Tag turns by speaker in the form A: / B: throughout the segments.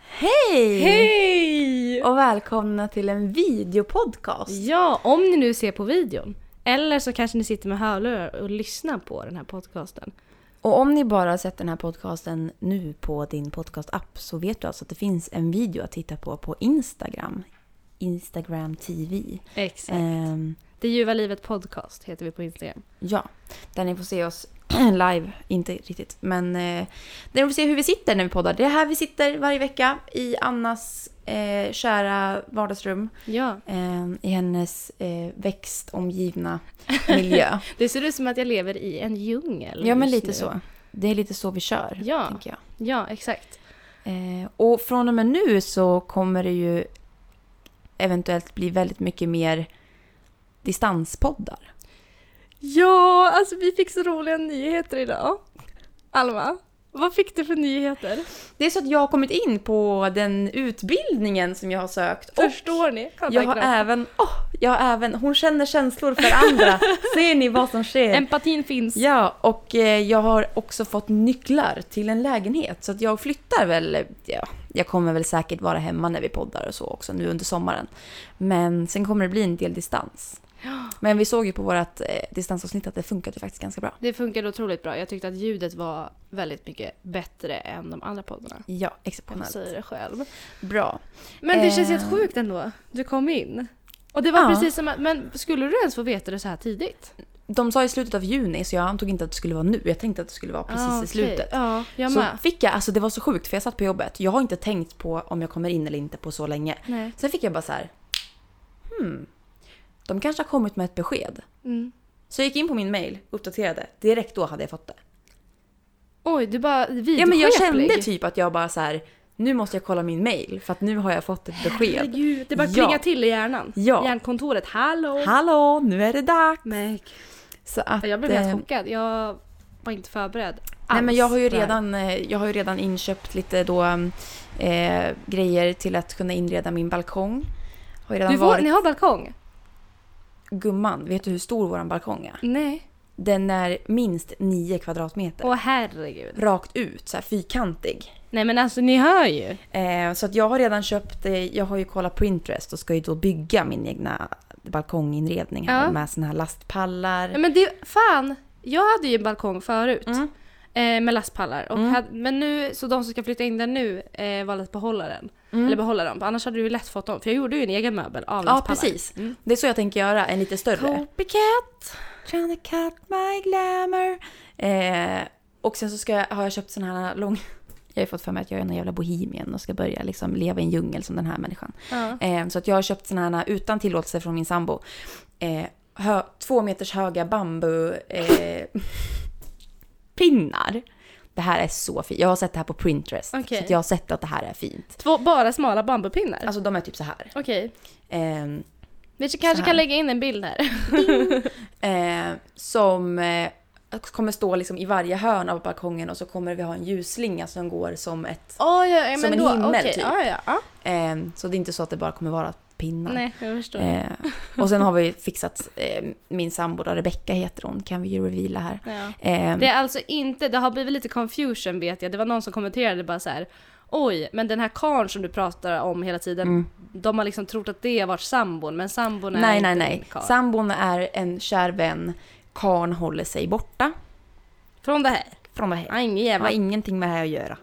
A: Hej!
B: Hej!
A: Och välkomna till en videopodcast.
B: Ja, om ni nu ser på videon. Eller så kanske ni sitter med hörlurar och lyssnar på den här podcasten.
A: Och om ni bara har sett den här podcasten nu på din podcastapp så vet du alltså att det finns en video att titta på på Instagram. Instagram TV.
B: Exakt.
A: Ehm,
B: Eh, Det ljuva livet podcast heter vi på Instagram.
A: ja, där ni får se oss live. Inte riktigt, men eh, där ni får se hur vi sitter när vi poddar. Det är här vi sitter varje vecka i Annas eh, kära vardagsrum.
B: Ja.
A: Ehm, I hennes eh, växtomgivna miljö.
B: Det ser ut som att jag lever i en djungel
A: Ja, men
B: just
A: lite
B: nu.
A: så. Det är lite så vi kör,
B: Ja.
A: tänker jag.
B: Ja, exakt.
A: Eh, och från och med nu så kommer det ju eventuellt bli väldigt mycket mer distanspoddar.
B: Ja, alltså vi fick så roliga nyheter idag. Alma, vad fick du för nyheter?
A: Det är så att jag har kommit in på den utbildningen som jag har sökt. Och
B: Förstår ni?
A: jag har även... åh, jag har även... Hon känner känslor för andra. Ser ni vad som sker?
B: Empatin finns.
A: Ja, och eh, jag har också fått nycklar till en lägenhet. Så att jag flyttar väl, ja, jag kommer väl säkert vara hemma när vi poddar och så också nu under sommaren. Men sen kommer det bli en del distans. Men vi såg ju på vårt eh, distansavsnitt att det funkade faktiskt ganska bra.
B: Det funkade otroligt bra. Jag tyckte att ljudet var väldigt mycket bättre än de andra poddarna.
A: Ja,
B: Jag
A: exceptionellt.
B: säger det själv.
A: Bra.
B: Men det känns
A: Eh.
B: helt sjukt ändå. Du kom in. Och det var
A: Ja.
B: precis som att, men skulle du ens få veta det så här tidigt?
A: De sa i slutet av juni så jag antog inte att det skulle vara nu. Jag tänkte att det skulle vara precis
B: Ah,
A: i
B: okej.
A: slutet.
B: Ja, jag
A: Så
B: med.
A: fick jag, alltså det var så sjukt för jag satt på jobbet. Jag har inte tänkt på om jag kommer in eller inte på så länge.
B: Nej.
A: Sen fick jag bara så här, hmm, de kanske har kommit med ett besked.
B: Mm.
A: Så jag gick in på min mail, uppdaterade, direkt då hade jag fått det.
B: Oj, du bara vidskeplig.
A: Ja men jag kände typ att jag bara så här, nu måste jag kolla min mail för att nu har jag fått ett besked.
B: Herregud, det bara
A: Ja.
B: klingar till i hjärnan.
A: Ja.
B: Hjärnkontoret, hallå!
A: Hallå, nu är det dags!
B: Men
A: Så att,
B: Jag blev helt
A: eh,
B: chockad. Alltså. Jag var inte förberedd
A: Nej
B: alls
A: men jag har ju
B: på det här.
A: redan, eh, jag har ju redan inköpt lite då eh, grejer till att kunna inreda min balkong. Har ju redan
B: Du får,
A: varit...
B: ni har balkong?
A: Gumman, vet du hur stor våran balkong är?
B: Nej.
A: Den är minst 9 kvadratmeter.
B: Åh herregud.
A: Rakt ut, så här fyrkantig.
B: Nej men alltså ni hör ju.
A: Eh, så att jag har redan köpt, eh, jag har ju kollat på Pinterest och ska ju då bygga min egna balkonginredning här
B: Ja. Mm.
A: med såna här lastpallar.
B: Nej, men det, fan! Jag hade ju en balkong förut.
A: Mm.
B: Eh, med lastpallar. Och
A: Mm.
B: hade, men nu, så de som ska flytta in den nu eh, valde att behålla den. Eller behålla dem. Annars hade du ju lätt fått dem. För jag gjorde ju en egen möbel av
A: Ja,
B: lastpallar.
A: precis.
B: Mm.
A: Det är så jag tänker göra, en lite större.
B: Copycat!
A: Trying to cut my glamour. Eh, och sen så ska jag, har jag köpt såna här lång... Jag har ju fått för mig att jag är en jävla bohemien och ska börja liksom leva i en djungel som den här människan.
B: Ja.
A: Eh, så att jag har köpt såna här, utan tillåtelse från min sambo, eh, hö, två meters höga bambu... Eh, pinnar. Det här är så fint. Jag har sett det här på Pinterest.
B: Okej.
A: Så att jag har sett att det här är fint.
B: Två bara smala bambupinnar.
A: Alltså de är typ så här.
B: Okej.
A: Eh,
B: Vi
A: Så
B: kanske
A: här.
B: kan lägga in en bild här.
A: eh, som eh, kommer stå liksom i varje hörn av balkongen och så kommer vi ha en ljusslinga som går som ett...
B: Oh, ja, ja,
A: Som
B: men
A: en
B: då,
A: himmel,
B: okej.
A: typ.
B: Ja, ja, ja.
A: Eh, så det är inte så att det bara kommer vara pinnar.
B: Nej, jag förstår.
A: Eh, och sen har vi fixat eh, min sambo, då, Rebecka heter hon, kan vi ju reveala här.
B: Ja.
A: Eh,
B: Det är alltså inte, det har blivit lite confusion vet jag. Det var någon som kommenterade bara så här. Oj, men den här karln som du pratar om hela tiden, de har liksom trott att det har varit sambon, men sambon är
A: nej,
B: inte
A: nej,
B: en
A: nej.
B: karl.
A: Sambon är en kär vän. Karn håller sig borta
B: Från det här?
A: från det här.
B: Ja, ingen
A: Det
B: jävla...
A: har ingenting med det här att göra.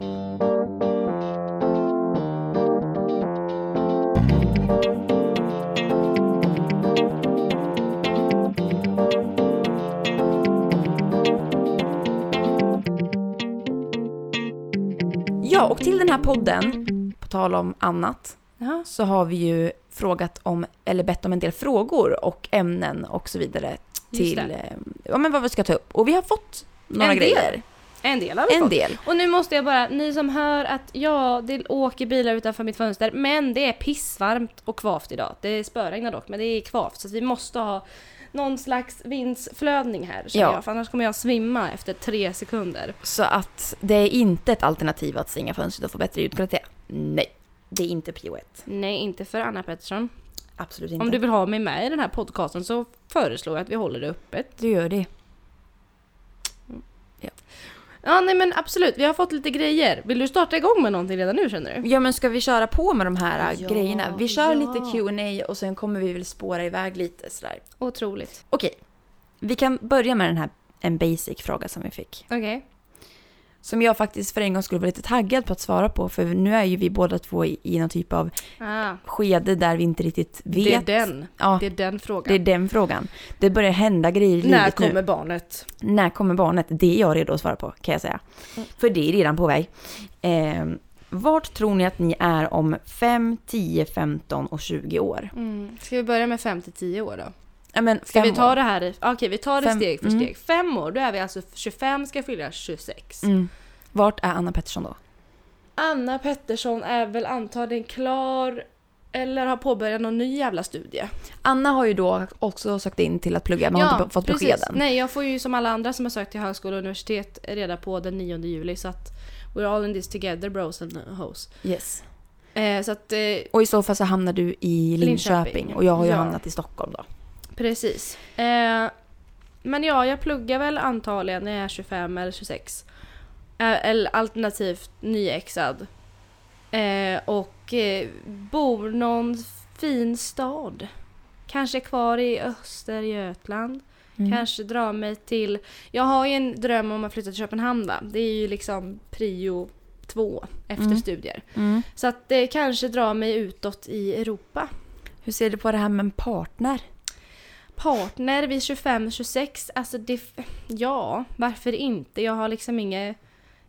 A: Ja, och till den här podden, på tal om annat,
B: Ja.
A: så har vi ju frågat om, eller bett om en del frågor och ämnen och så vidare
B: Just
A: till
B: det.
A: eh, ja, men vad vi ska ta upp. Och vi har fått några
B: En del.
A: grejer.
B: En del har vi
A: En
B: fått.
A: del.
B: Och nu måste jag bara, ni som hör att ja, det åker bilar utanför mitt fönster, men det är pissvarmt och kvavt idag. Det spöregnar dock, men det är kvavt, så att vi måste ha någon slags vindsflödning här,
A: Ja.
B: ja. jag, för annars kommer jag svimma efter tre sekunder.
A: Så att det är inte ett alternativ att stänga fönstret och få bättre ljudkvalitet? Nej, det är inte prio ett.
B: Nej, inte för Anna Pettersson.
A: Absolut inte.
B: Om du vill ha mig med i den här podcasten så föreslår jag att vi håller det öppet.
A: du gör det.
B: Ja nej men absolut, vi har fått lite grejer. Vill du starta igång med någonting redan nu känner du?
A: Ja men ska vi köra på med de här äh,
B: Mm. Ja,
A: grejerna? Vi kör
B: ja.
A: lite Q&A och sen kommer vi väl spåra iväg lite sådär.
B: Otroligt.
A: Okej, vi kan börja med den här en basic fråga som vi fick.
B: Okej.
A: Som jag faktiskt för en gång skulle vara lite taggad på att svara på för nu är ju vi båda två i, i någon typ av
B: Ah,
A: skede där vi inte riktigt vet.
B: det är den.
A: Ja,
B: Det är den frågan.
A: det är den frågan. Det börjar hända grejer i
B: När
A: livet
B: kommer
A: nu.
B: barnet?
A: När kommer barnet? Det är jag redo att svara på kan jag säga.
B: Mm.
A: För det är redan på väg. Eh, vart tror ni att ni är om 5, 10, 15 och 20 år?
B: Mm. Ska vi börja med 5 till 10 år då?
A: Ja, men
B: Ska
A: fem
B: vi ta
A: år.
B: det här i... Okej, vi tar det
A: Fem-
B: steg för
A: mm.
B: steg. Fem år, då är vi alltså 25 ska fylla 26.
A: Mm. Vart är Anna Pettersson då?
B: Anna Pettersson är väl antagligen klar eller har påbörjat någon ny jävla studie.
A: Anna har ju då också sökt in till att plugga, man har inte fått
B: precis.
A: beskeden.
B: Nej, jag får ju som alla andra som har sökt till högskola och universitet reda på den 9 juli så att we're all in this together bros and hoes.
A: Yes.
B: Eh, så att eh,
A: Och i så fall så hamnar du i Linköping,
B: Linköping.
A: och jag har ju
B: Ja.
A: hamnat i Stockholm då.
B: Precis. Eh, men ja, jag pluggar väl antagligen när jag är 25 eller 26. Eh, eller alternativt nyexad. Eh, och eh, bor någon fin stad. Kanske kvar i Östergötland. Kanske drar mig till... Jag har ju en dröm om att flytta till Köpenhamn va. Det är ju liksom prio två efter
A: Mm.
B: studier.
A: Mm.
B: Så att det kanske drar mig utåt i Europa.
A: Hur ser du på det här med en partner?
B: partner vid 25-26, alltså det... Ja, varför inte? Jag har liksom inget...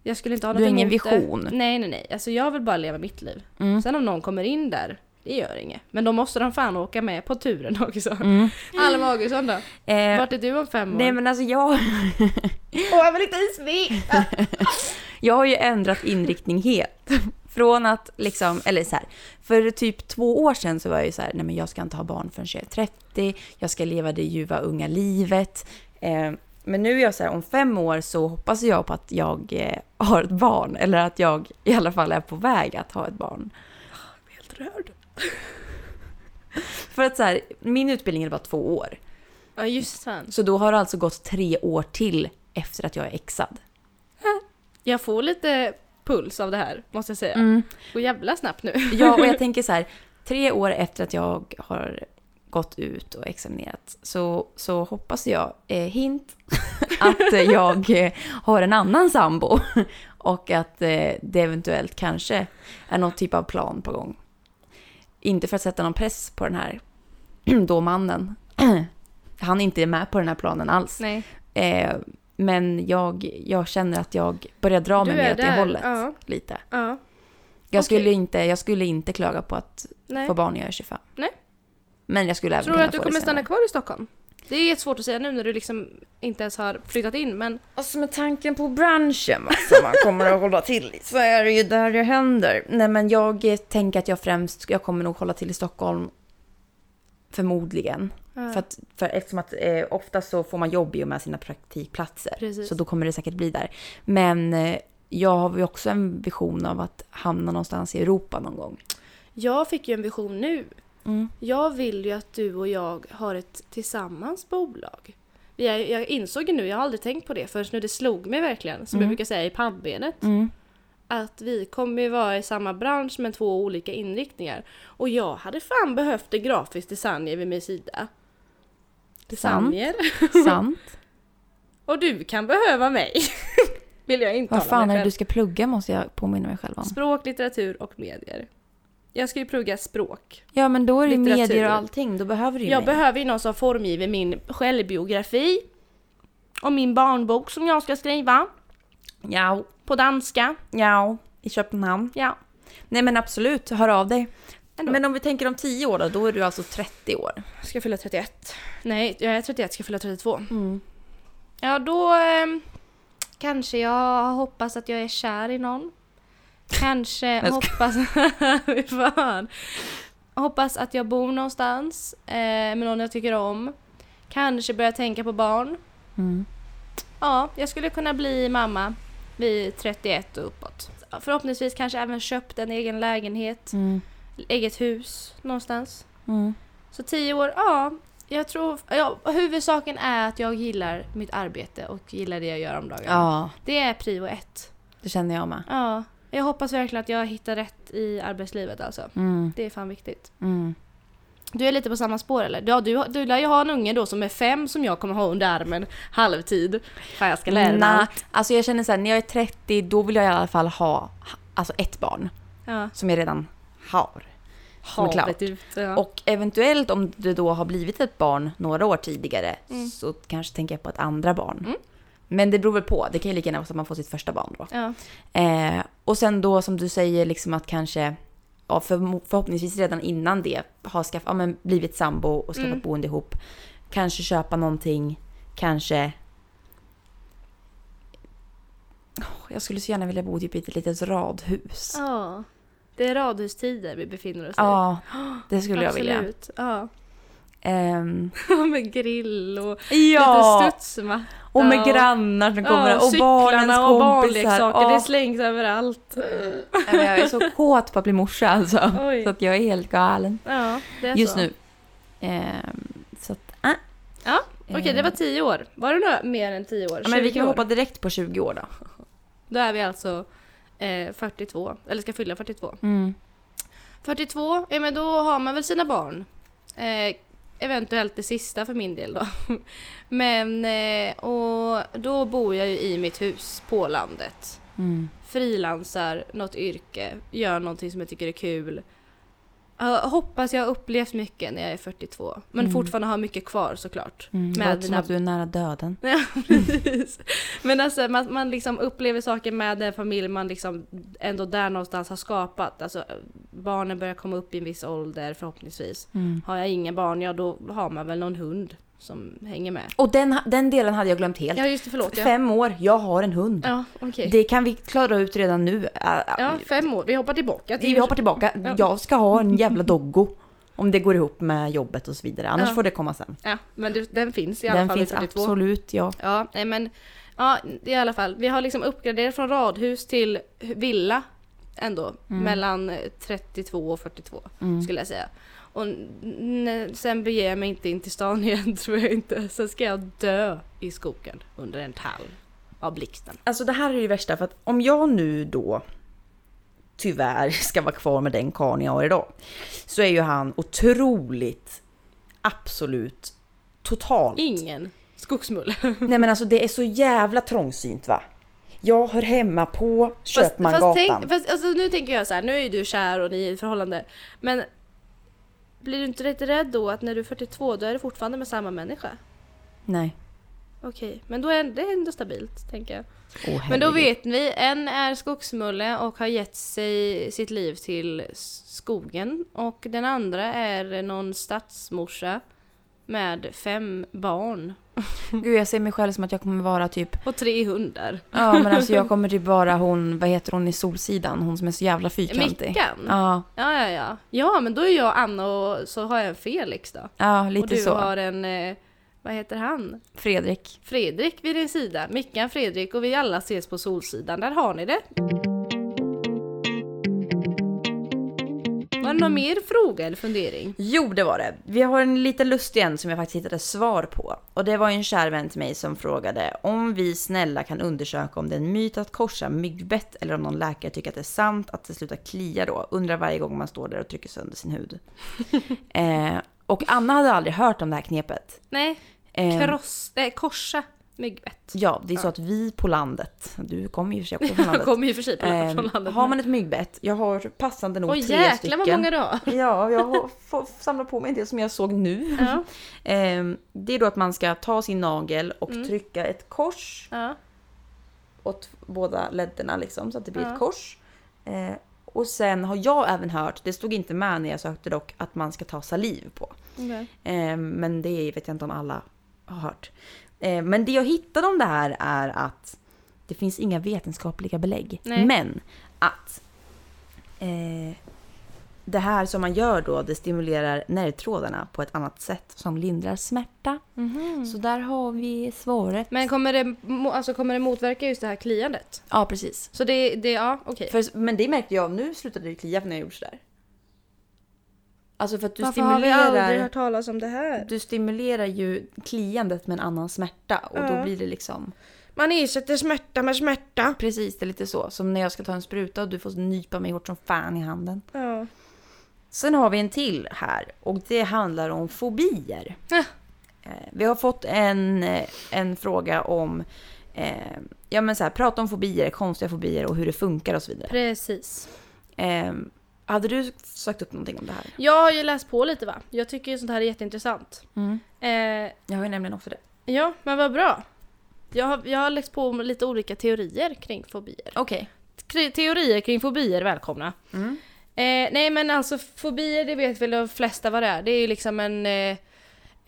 B: Jag skulle inte ha
A: Du har
B: något
A: ingen
B: emot
A: vision?
B: Det. Nej, nej, nej. Alltså jag vill bara leva mitt liv.
A: Mm.
B: Sen om någon kommer in där, det gör inget. Men då måste de fan åka med på turen också.
A: Mm.
B: Alma Augustsson då?
A: Eh,
B: Vart är du om fem år?
A: nej men alltså jag,
B: Åh, jag vill inte ens veta!
A: jag har ju ändrat inriktning helt. Från att liksom, eller så här, för typ två år sedan så var jag ju så här, nej men jag ska inte ha barn förrän jag är 30, jag ska leva det ljuva unga livet. Eh, men nu är jag så här, om fem år så hoppas jag på att jag eh, har ett barn, eller att jag i alla fall är på väg att ha ett barn.
B: Helt rörd.
A: För att så här, min utbildning är bara två år.
B: Ja, just fan.
A: Så då har det alltså gått tre år till efter att jag är exad.
B: Jag får lite puls av det här, måste jag säga.
A: Mm.
B: Går jävla snabbt nu.
A: Ja, och jag tänker så här, tre år efter att jag har gått ut och examinerat så, så hoppas jag, eh, hint, att eh, jag eh, har en annan sambo. Och att eh, det eventuellt kanske är någon typ av plan på gång. Inte för att sätta någon press på den här då mannen. Han är inte med på den här planen alls.
B: Nej.
A: Eh, men jag, jag känner att jag börjar dra mig
B: Du är
A: mer åt det
B: där.
A: hållet.
B: Ja,
A: Lite.
B: ja.
A: Jag,
B: Okej.
A: skulle inte, jag skulle inte klaga på att
B: Nej.
A: få barn när jag är 25.
B: Nej.
A: Men jag skulle även
B: Tror du
A: kunna
B: att du
A: få det
B: kommer stanna
A: senare.
B: kvar i Stockholm? Det är svårt att säga nu när du liksom inte ens har flyttat in men
A: Alltså med tanken på branschen va, som man kommer att hålla till i så är det ju där det händer. Nej men jag eh, tänker att jag främst, jag kommer nog hålla till i Stockholm. Förmodligen.
B: Ja.
A: För att, för eftersom att eh, oftast så får man jobb i och med sina praktikplatser.
B: Precis.
A: Så då kommer det säkert bli där. Men eh, jag har ju också en vision av att hamna någonstans i Europa någon gång.
B: jag fick ju en vision nu.
A: Mm.
B: Jag vill ju att du och jag har ett tillsammans bolag. Vi är- Jag insåg ju nu, jag har aldrig tänkt på det förrän nu det slog mig verkligen, som jag brukar säga i pannbenet.
A: Mm.
B: Att vi kommer ju vara i samma bransch men två olika inriktningar. Och jag hade fan behövt en grafisk designer vid min sida. Designer.
A: Sant.
B: Och du kan behöva mig. vill jag inte
A: Vad fan är det du ska plugga måste jag påminna mig själv om.
B: Språk, litteratur och medier. Jag ska ju plugga språk.
A: Ja men då är det ju
B: Litteratur.
A: medier och allting, då behöver du ju
B: Jag
A: mig.
B: behöver ju någon som formgiver min självbiografi. Och min barnbok som jag ska skriva.
A: Ja,
B: På danska.
A: ja, i Köpenhamn.
B: Ja.
A: Nej men absolut, hör av dig.
B: Ändå.
A: Men om vi tänker om 10 år då, då är du alltså 30 år.
B: Ska jag fylla 31? Nej, jag är 31, ska jag fylla 32. Mm. Ja, då ehm, kanske jag hoppas att jag är kär i någon. Kanske
A: Men ska-
B: hoppas... Fy fan. Hoppas att jag bor någonstans eh, med någon jag tycker om. Kanske börja tänka på barn.
A: Mm.
B: Ja, jag skulle kunna bli mamma vid 31 och uppåt. Förhoppningsvis kanske även köpt en egen lägenhet, eget hus någonstans.
A: Mm.
B: Så 10 år, ja. Jag tror, ja, huvudsaken är att jag gillar mitt arbete och gillar det jag gör om dagarna.
A: Ja,
B: Det är prio ett.
A: det känner jag med.
B: Ja. Jag hoppas verkligen att jag hittar rätt i arbetslivet alltså.
A: Mm,
B: Det är fan viktigt.
A: mm.
B: Du är lite på samma spår eller? Ja, du, du lär ju ha en unge då som är fem som jag kommer ha under armen halvtid. Fan jag ska lära mig
A: Nä,
B: allt.
A: alltså jag känner så här, när jag är 30 då vill jag i alla fall ha alltså ett barn
B: Ja.
A: som jag redan har. Som är klart.
B: Havet ut. Ja.
A: Och eventuellt om det då har blivit ett barn några år tidigare
B: Mm.
A: så kanske tänker jag på ett andra barn.
B: Mm.
A: Men det beror väl på. Det kan ju lika gärna vara så att man får sitt första barn då.
B: ja.
A: Eh, och sen då som du säger liksom att kanske ja, för, förhoppningsvis redan innan det har skaff, ja, men blivit sambo och skaffat
B: Mm.
A: boende ihop. Kanske köpa någonting, kanske... Åh, jag skulle så gärna vilja bo typ i ett litet radhus. Ja,
B: ja. Det är radhustider vi befinner oss i.
A: det skulle jag vilja.
B: Absolut. Ja.
A: Ehm,
B: med grill och lite
A: ja,
B: studsmatta.
A: och med
B: och-
A: grannar som kommer och
B: cyklarna
A: barnens kompisar.
B: och barnleksaker,
A: Ja.
B: det slängs överallt.
A: Nej, men jag är så kåt på att bli morsa alltså.
B: Oj.
A: Så att jag är helt galen.
B: Ja, det är
A: just
B: så.
A: nu. Ehm, så att, ah.
B: Ja, Okej, det var tio år. Var det några mer än tio år?
A: Ja, men vi
B: 20
A: kan
B: år.
A: hoppa direkt på 20 år då.
B: Då är vi alltså eh, 42, eller ska fylla 42. 42, ja men då har man väl sina barn. Eh, eventuellt det sista för min del då. Men, eh, och då bor jag ju i mitt hus på landet. mm, frilansar något yrke, gör någonting som jag tycker är kul. Jag hoppas jag har upplevt mycket när jag är 42. Men
A: Mm.
B: fortfarande har mycket kvar såklart.
A: Mm.
B: Med
A: Med låter som
B: dina-
A: att du är nära döden.
B: Precis. Men alltså man, man liksom upplever saker med den familj man liksom ändå där någonstans har skapat. Alltså barnen börjar komma upp i en viss ålder förhoppningsvis.
A: Mm.
B: Har jag inga barn, ja då har man väl någon hund som hänger med.
A: Och den, ha- den delen hade jag glömt helt.
B: Ja just det, förlåt. Jag...
A: Fem år, jag har en hund.
B: Ja, okej.
A: Det kan vi klara ut redan nu. Äh, äh,
B: Ja, fem år. Vi hoppar tillbaka till
A: vi hoppar tillbaka.
B: Ja.
A: Jag ska ha en jävla doggo. Om det går ihop med jobbet och så vidare. Annars
B: Ja.
A: får det komma sen.
B: Ja, men det- den finns i alla
A: Den
B: fall
A: finns
B: i 42.
A: absolut, ja.
B: Ja, nej men ja, i alla fall. Vi har liksom uppgraderat från radhus till villa ändå. Mellan 32 och 42 skulle jag säga. Och n- sen beger jag mig inte in till stan igen tror jag inte. Sen ska jag dö i skogen under en tall av blixten.
A: Alltså det här är ju det värsta för att om jag nu då tyvärr ska vara kvar med den karln jag har idag så är ju han otroligt absolut totalt.
B: Ingen skogsmulle.
A: Nej men alltså det är så jävla trångsynt va. Jag hör hemma på Köpmangatan.
B: fast, tänk, fast alltså, nu tänker jag så här, nu är ju du kär och ni är i ett förhållande. Men blir du inte lite rädd då att när du är 42 då är du fortfarande med samma människa?
A: Nej.
B: Okej, men då är det ändå stabilt tänker jag.
A: Åh,
B: Men då
A: herregud.
B: vet vi, en är skogsmulle och har gett sig sitt liv till s- skogen och den andra är någon stadsmorsa med fem barn Mm.
A: Gud jag ser mig själv som att jag kommer vara typ,
B: och tre hundar.
A: ja men alltså jag kommer typ vara hon, vad heter hon i Solsidan? Hon som är så jävla fyrkantig.
B: Mickan? Ja.
A: Ja,
B: ja, ja, ja. men då är jag Anna och så har jag en Felix då.
A: ja
B: och
A: lite
B: du
A: så.
B: har en, eh, vad heter han?
A: Fredrik.
B: Fredrik vid din sida. Mickan, Fredrik och vi alla ses på Solsidan. Där har ni det. Var det någon mer fråga eller fundering?
A: Jo, det var det. Vi har en lite lustig en som jag faktiskt hittade svar på. Och det var ju en kär vän till mig som frågade om vi snälla kan undersöka om det är en myt att korsa myggbett eller om någon läkare tycker att det är sant att det slutar klia då. Undrar varje gång man står där och trycker sönder sin hud. eh, och Anna hade aldrig hört om det här knepet.
B: Nej,
A: Eh,
B: kross, nej korsa myggbett.
A: ja, det är så att vi på landet, du kommer ju i och för sig också från
B: Jag
A: landet.
B: kommer ju i och för sig på
A: Eh,
B: Ehm, från landet.
A: har man ett myggbett, jag har passande nog
B: Åh
A: tre
B: jäklar
A: stycken.
B: vad många du har.
A: Ja, jag har får samla på mig en del som jag såg nu.
B: Ja,
A: Ehm, Det är då att man ska ta sin nagel och
B: Mm.
A: trycka ett kors
B: ja,
A: åt båda ledderna liksom, så att det blir
B: Ja.
A: ett kors. Eh, Och sen har jag även hört, det stod inte med när jag sökte dock, att man ska ta saliv på.
B: okej.
A: Eh, Men det vet jag inte om alla har hört. Eh, Men det jag hittade om det här är att det finns inga vetenskapliga belägg.
B: Nej.
A: Men att eh, det här som man gör då, det stimulerar nervtrådarna på ett annat sätt som lindrar smärta.
B: Mhm.
A: Så där har vi svaret.
B: Men kommer det, mo- alltså, kommer det motverka just det här kliandet?
A: Ja, precis.
B: Så det, det ja okej.
A: För, men det märkte jag, nu slutade det klia när jag gjorde sådär. Alltså för att du
B: Varför har vi aldrig
A: stimulerar,
B: hört talas om det här?
A: du stimulerar ju kliandet med en annan smärta och då
B: Ja.
A: blir det liksom
B: Man ersätter smärta med smärta.
A: Precis, det är lite så. Som när jag ska ta en spruta och du får nypa mig hårt som fan i handen.
B: Ja.
A: Sen har vi en till här och det handlar om fobier.
B: Ah.
A: Eh, Vi har fått en, eh, en fråga om eh, ja, men så här, prata om fobier, konstiga fobier och hur det funkar och så vidare.
B: Precis.
A: Eh, hade du sökt upp någonting om det här?
B: Jag har ju läst på lite va? Jag tycker ju sånt här är jätteintressant. Eh,
A: Jag har ju nämligen också det.
B: ja, men vad bra. Jag har, jag har läst på om lite olika teorier kring fobier.
A: Okej.
B: Kri- Teorier kring fobier, välkomna.
A: Mm.
B: Eh, nej men alltså fobier det vet väl de flesta vad det är. Det är ju liksom en, eh,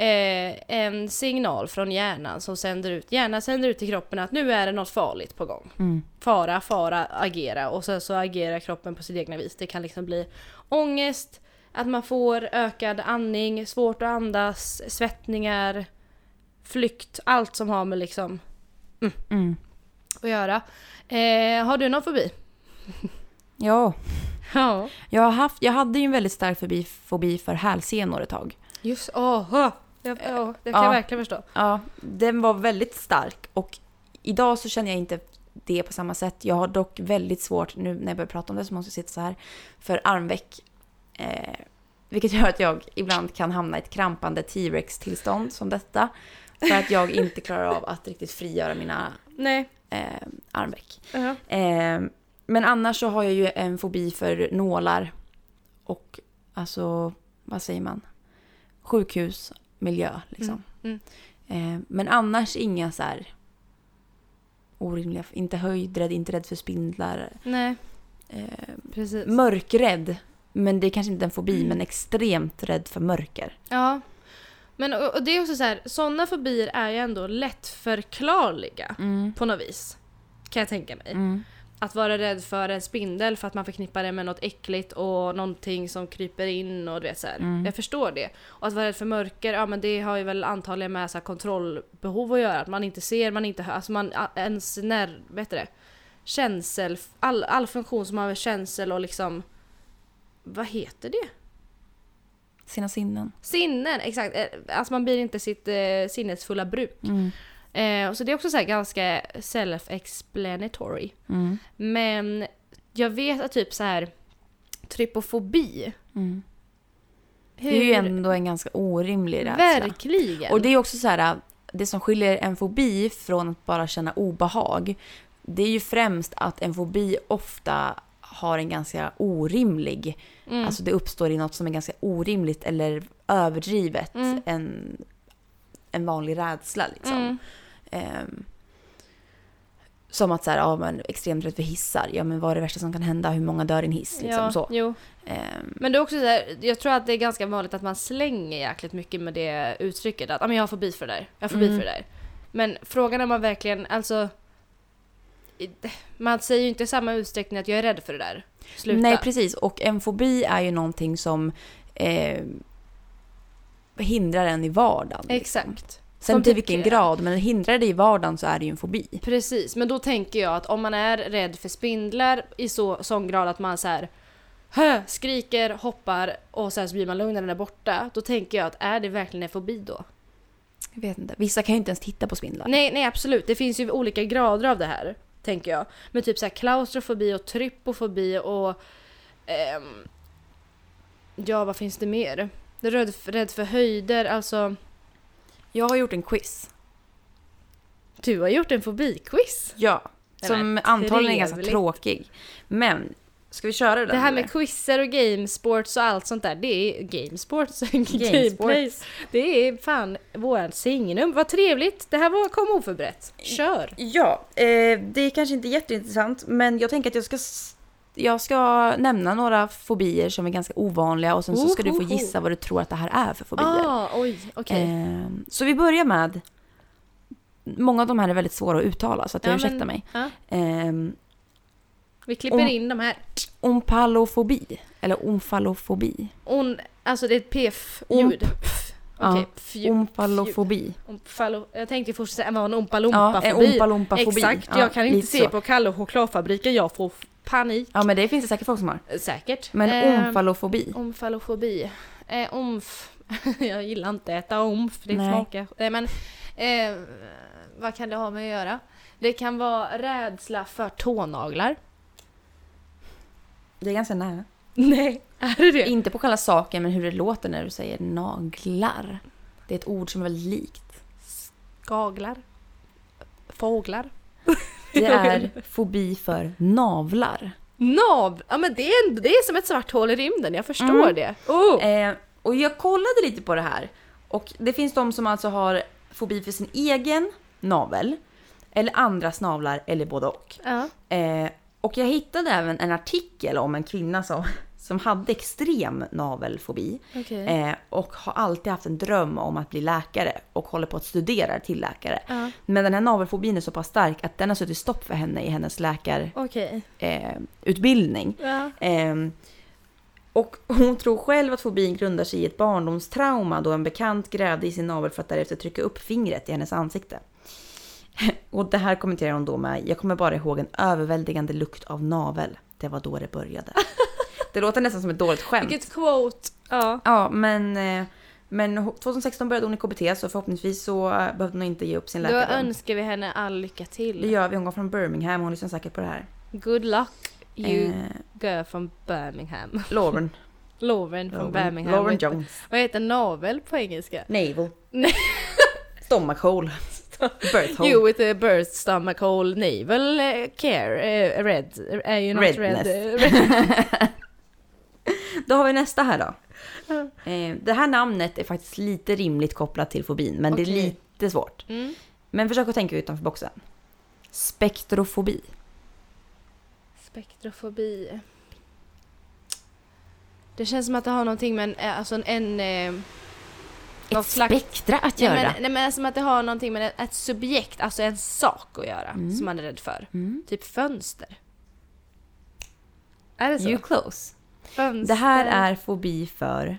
B: eh, en signal från hjärnan som sänder ut, hjärnan sänder ut till kroppen att nu är det något farligt på gång.
A: Mm.
B: Fara, fara, agera och sen så agerar kroppen på sitt egna vis. Det kan liksom bli ångest, att man får ökad andning, svårt att andas, svettningar, flykt, allt som har med liksom
A: Mm.
B: att göra. Eh, har du någon fobi?
A: Ja,
B: Ja.
A: jag, har haft, jag hade ju en väldigt stark fobi, fobi för hälsenor ett tag.
B: Just åh, jag, ja, det kan
A: Ja.
B: jag verkligen förstå.
A: Ja, den var väldigt stark och idag så känner jag inte det på samma sätt. Jag har dock väldigt svårt, nu när jag börjar prata om det så måste jag sitta så här, för armveck. Eh, vilket gör att jag ibland kan hamna i ett krampande T-rex-tillstånd som detta. För att jag inte klarar av att riktigt frigöra mina
B: Nej.
A: eh, armveck.
B: Ja.
A: Eh, men annars så har jag ju en fobi för nålar och alltså, vad säger man? Sjukhusmiljö liksom.
B: Mm,
A: Eh, men annars inga så här orimliga, inte höjdrädd, inte rädd för spindlar.
B: Nej,
A: Eh,
B: precis. Mm.
A: mörkrädd, men det är kanske inte en fobi, men extremt rädd för mörker.
B: Ja. Men och, och det är också så här, sådana fobier är ju ändå lättförklarliga på något vis. Kan jag tänka mig.
A: Mm.
B: Att vara rädd för en spindel för att man förknippar det med något äckligt och någonting som kryper in och du vet så här. Jag förstår det. Och att vara rädd för mörker, ja men det har ju väl antagligen med så här kontrollbehov att göra. Att man inte ser, man inte hör, alltså man, a- ens när, vet du det? Känsel, all, all funktion som har med känsel och liksom... Vad heter det?
A: Sina sinnen.
B: Sinnen, exakt. Eh, Alltså man blir inte sitt eh, sinnesfulla bruk.
A: Mm,
B: Eh, så det är också så här ganska self-explanatory.
A: Mm.
B: Men jag vet att typ så här trypofobi.
A: Mm.
B: Hur,
A: Det är ju ändå en ganska orimlig rädsla.
B: Verkligen.
A: Och det är också så här, det som skiljer en fobi från att bara känna obehag, det är ju främst att en fobi ofta har en ganska orimlig,
B: mm.
A: alltså det uppstår i något som är ganska orimligt eller överdrivet,
B: Mm.
A: en, en vanlig rädsla liksom.
B: mm.
A: Ehm, som att så här, ja, men extremt rädd för hissar, ja men vad är det värsta som kan hända, hur många dör i en hiss? Liksom,
B: ja,
A: så.
B: Jo.
A: Ehm,
B: Men det är också så här, jag tror att det är ganska vanligt att man slänger jäkligt mycket med det uttrycket. Att ah, men jag har fobi för det där, jag har fobi
A: Mm.
B: för det där. Men frågan är om man verkligen, alltså... i- Man säger ju inte i samma utsträckning att jag är rädd för det där. Sluta.
A: Nej, precis. Och en fobi är ju någonting som eh, hindrar en i vardagen. liksom.
B: Exakt.
A: Sen
B: Som
A: till
B: typ
A: vilken
B: det.
A: grad, men hindrar det i vardagen så är det ju en fobi.
B: Precis, men då tänker jag att om man är rädd för spindlar i så, sån grad att man så här Hö! skriker, hoppar och sen så blir man lugn när den är borta. Då tänker jag att är det verkligen en fobi då?
A: Jag vet inte. Vissa kan ju inte ens titta på spindlar.
B: Nej, nej absolut. Det finns ju olika grader av det här. Tänker jag. Men typ så här klaustrofobi och trypofobi och... ehm, ja, vad finns det mer? Rädd, rädd för höjder, alltså...
A: Jag har gjort en quiz.
B: Du har gjort en fobiquiz!
A: Ja.
B: Den
A: Som
B: är
A: antagligen är ganska
B: trevlig.
A: tråkig. Men, ska vi köra den?
B: Det här
A: eller?
B: med quizzer och gamesports och allt sånt där, det är gamesports.
A: Gamesports.
B: Gameplays. Det är fan vårt signum. Vad trevligt! Det här var, kom oförberett. Kör!
A: Ja, eh, det är kanske inte jätteintressant, men jag tänker att jag ska, s- jag ska nämna några fobier som är ganska ovanliga och sen så ska du få
B: Ohoho.
A: gissa vad du tror att det här är för fobier.
B: Ah, oj, okej.
A: Eh, så vi börjar med... Många av de här är väldigt svåra att uttala, så att jag
B: Ja,
A: ursäktar
B: men-
A: mig.
B: Ja,
A: Eh,
B: vi klipper
A: Om-
B: in de här.
A: omfallofobi, eller omfallofobi.
B: On, alltså det är ett pf-ljud.
A: Omp.
B: Okej,
A: Ja.
B: fju-
A: omfallofobi.
B: omfallo- Jag tänkte fortsätta säga vad en
A: Ja, en
B: ompa-lompa-fobi.
A: omfallofobi.
B: Exakt,
A: ja,
B: jag kan inte
A: lite
B: se
A: så.
B: på Kalle och chokladfabriken, jag får panik. Eh,
A: Ja, men det finns det säkert folk som har.
B: Säkert.
A: Men
B: Eh,
A: omfallofobi.
B: Omfallofobi. Eh, omf. jag gillar inte att äta omf, det
A: Nej.
B: smakar... Nej men... Eh, vad kan det ha med att göra? Det kan vara rädsla för tånaglar.
A: Det är ganska nära.
B: Nej, är det det?
A: Inte på själva saken, men hur det låter när du säger naglar. Det är ett ord som är väldigt likt.
B: Gaglar. Fåglar.
A: Det är fobi för navlar.
B: Nav! Ja men det är, ändå- det är som ett svart hål i rymden, jag förstår
A: Mm.
B: det. Oh.
A: Eh, och jag kollade lite på det här. Och det finns de som alltså har fobi för sin egen navel. Eller andras navlar, eller både och.
B: Ja.
A: Eh, och jag hittade även en artikel om en kvinna som, som hade extrem navelfobi.
B: Okej.
A: Eh, och har alltid haft en dröm om att bli läkare och håller på att studera till läkare.
B: Ja.
A: Men den här navelfobin är så pass stark att den har suttit stopp för henne i hennes läkarutbildning.
B: Okej.
A: Eh, utbildning.
B: Ja.
A: Ehm, och hon tror själv att fobin grundar sig i ett barndomstrauma då en bekant grävde i sin navel för att därefter trycka upp fingret i hennes ansikte. Och det här kommenterar hon då med “Jag kommer bara ihåg en överväldigande lukt av navel. Det var då det började.” Det låter nästan som ett dåligt skämt.
B: Vilket quote. Ja.
A: Ja, men, eh, men ho- 2016 började hon i KBT så förhoppningsvis så eh, behövde hon inte ge upp sin
B: Då
A: läkardom.
B: önskar vi henne all lycka
A: Det
B: till.
A: gör vi. Hon går från Birmingham och hon lyssnar säkert på det här.
B: Good luck you
A: Eh,
B: girl from Birmingham.
A: Lauren.
B: Lauren from
A: Lauren,
B: Birmingham.
A: Lauren
B: Vad-
A: Jones.
B: Vad heter navel på engelska?
A: Navel.
B: Nej.
A: Stomachhål. Birth hole.
B: You with a burst stomach hole navel eh, care eh, red. Är ju något red.
A: Redness.
B: eh, red.
A: Då har vi nästa här då. Eh, Det här namnet är faktiskt lite rimligt kopplat till fobin, men det är
B: Okej.
A: lite svårt.
B: Mm.
A: Men försök att tänka utanför boxen. Spektrofobi.
B: Spektrofobi. Det känns som att det har någonting med en, eh, alltså en, en eh, Något
A: Ett
B: slags-
A: spektra att
B: nej,
A: göra.
B: men, nej men som att det har någonting med ett- ett subjekt, alltså en sak att göra
A: Mm.
B: som man är rädd för.
A: Mm.
B: Typ fönster. Är det så?
A: You close.
B: fönster.
A: Det här är fobi för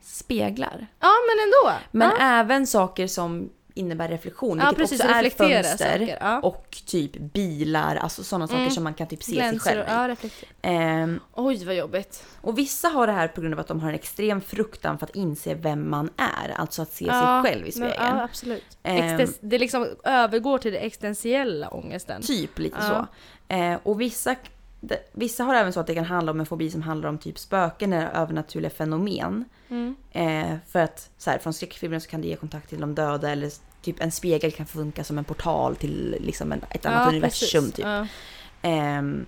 A: speglar.
B: Ja men ändå!
A: Men
B: ja.
A: även saker som innebär reflektion,
B: ja
A: vilket
B: precis,
A: också är
B: reflektera
A: fönster.
B: saker. Ja.
A: Och typ bilar, alltså sådana saker
B: Mm.
A: som man kan typ se sig
B: Glänser
A: själv
B: och
A: i.
B: ja, reflektera.
A: Ehm,
B: Oj vad jobbigt.
A: Och vissa har det här på grund av att de har en extrem fruktan för att inse vem man är, alltså att se
B: Ja,
A: sig själv i
B: men-
A: spegeln.
B: ja absolut.
A: Ehm.
B: Extens- det liksom övergår till den existentiella ångesten.
A: Typ lite
B: Ja.
A: så. Eh, och vissa, de, vissa har även så att det kan handla om en fobi som handlar om typ spöken eller övernaturliga fenomen.
B: Mm.
A: Eh, för att så här, från skräckfilmen så kan det ge kontakt till de döda eller s- typ en spegel kan funka som en portal till liksom en, ett annat universum.
B: precis.
A: Typ.
B: Ja.
A: Ehm,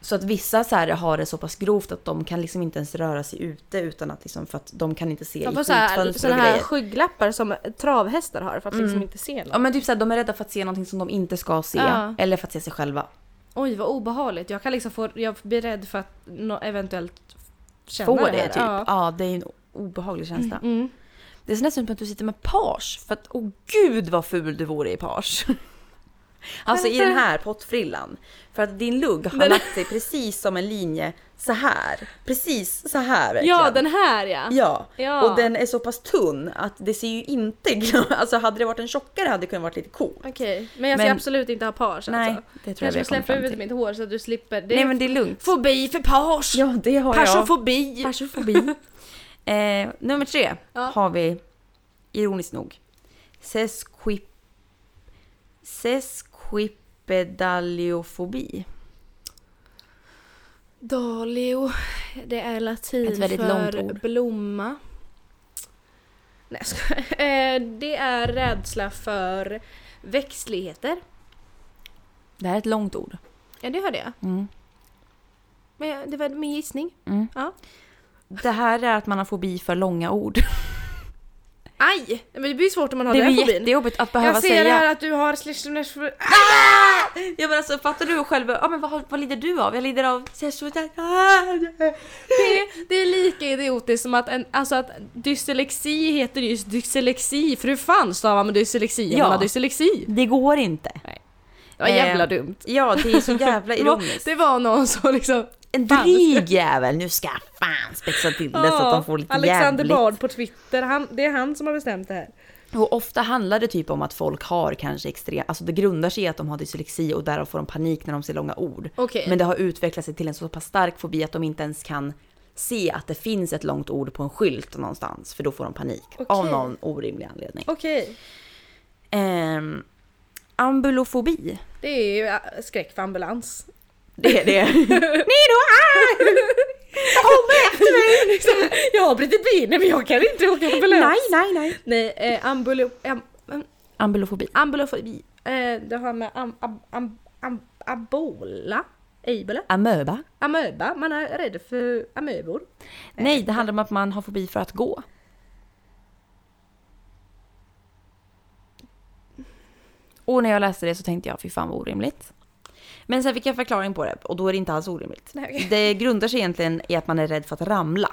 A: så att vissa så här har det så pass grovt att de kan liksom inte ens röra sig ute utan att liksom, för att de kan inte se
B: De
A: i
B: får så här,
A: skyltfönster
B: såna
A: och
B: här
A: grejer.
B: skygglappar som travhästar har för att liksom
A: Mm.
B: inte se något.
A: Ja men typ såhär, de är rädda för att se någonting som de inte ska se.
B: Ja.
A: Eller för att se sig själva.
B: Oj vad obehagligt. Jag kan liksom få, jag blir rädd för att nå- eventuellt känna
A: Få
B: det,
A: det,
B: här.
A: typ. Ja.
B: Ja.
A: det är en obehaglig känsla.
B: Mm.
A: Det är nästan som att du sitter med page. För att åh gud vad ful du vore i page. Alltså i den här pottfrillan. För att din lugg har
B: Den-
A: lagt sig precis som en linje så här. Precis så här verkligen.
B: ja den här ja.
A: Ja.
B: Ja.
A: och den är så pass tunn att det ser ju inte gl- Alltså hade det varit en tjockare hade det kunnat varit lite cool.
B: Okej, men jag ska
A: Men-
B: absolut inte ha page
A: Nej,
B: alltså.
A: det tror jag
B: Jag
A: vi
B: ska
A: har kommit
B: släppa
A: fram
B: ut
A: till.
B: mitt hår så att du slipper. Det är
A: Nej men det är lugnt.
B: fobi för page!
A: Ja det har jag.
B: Passiofobi!
A: Passiofobi. eh, nummer tre
B: Ja.
A: har vi, ironiskt nog, sesquip... sesquipedaliofobi.
B: Dalio, det är latin
A: Ett väldigt
B: för
A: långt ord.
B: blomma. Nej jag skojar. Eh, Det är rädsla för växtligheter.
A: Det här är ett långt ord.
B: Ja det hörde jag.
A: Mm.
B: Men jag- det var min gissning.
A: Det här är att man har fobi för långa ord.
B: Aj! Men det blir ju svårt om man har
A: det är
B: den
A: ju
B: fobin.
A: jättejobbigt att behöva
B: Jag ser
A: säga.
B: här att du har slash
A: Jag menar alltså, fattar du själv, ja, men vad, har- vad lider du av? Jag lider av sesquipedal...
B: Det, det är lika idiotiskt som att, en, alltså att dyslexi heter just dyslexi, för hur fan stavar man dyslexi om
A: Ja.
B: man har dyslexi?
A: Det går inte.
B: Det var
A: Eh,
B: jävla dumt.
A: Ja, det är så jävla
B: Det var,
A: ironiskt.
B: det var någon som liksom...
A: En
B: Fan.
A: dryg jävel, nu ska jag fan spexa till det så att de får lite
B: "Ah, Alexander
A: jävligt.
B: Bard på Twitter, han, det är han som har bestämt det här.
A: Och ofta handlar det typ om att folk har kanske extrem, alltså det grundar sig i att de har dyslexi och därav får de panik när de ser långa ord.
B: Okej.
A: Men det har utvecklat sig till en så pass stark fobi att de inte ens kan se att det finns ett långt ord på en skylt någonstans för då får de panik av
B: Okej.
A: någon orimlig anledning.
B: Okej.
A: Ehm, ambulofobi.
B: Det är ju äh, skräck för ambulans.
A: Det är det. Nino! Ah! Håll med!
B: Liksom, jag har brutit benet men jag kan inte åka ambulans.
A: Nej, nej, nej.
B: Nej, eh, ambulo, am, am,
A: Ambulofobi.
B: ambulofobi. Eh, det har med am, ab, am, am, abola, ebola,
A: Amöba.
B: amöba. Man är rädd för amöbor.
A: Nej, det handlar om att man har fobi för att gå. Och när jag läste det så tänkte jag, fy fan vad orimligt. Men sen fick jag en förklaring på det och då är det inte alls orimligt.
B: Nej, okej.
A: Det grundar sig egentligen i att man är rädd för att ramla.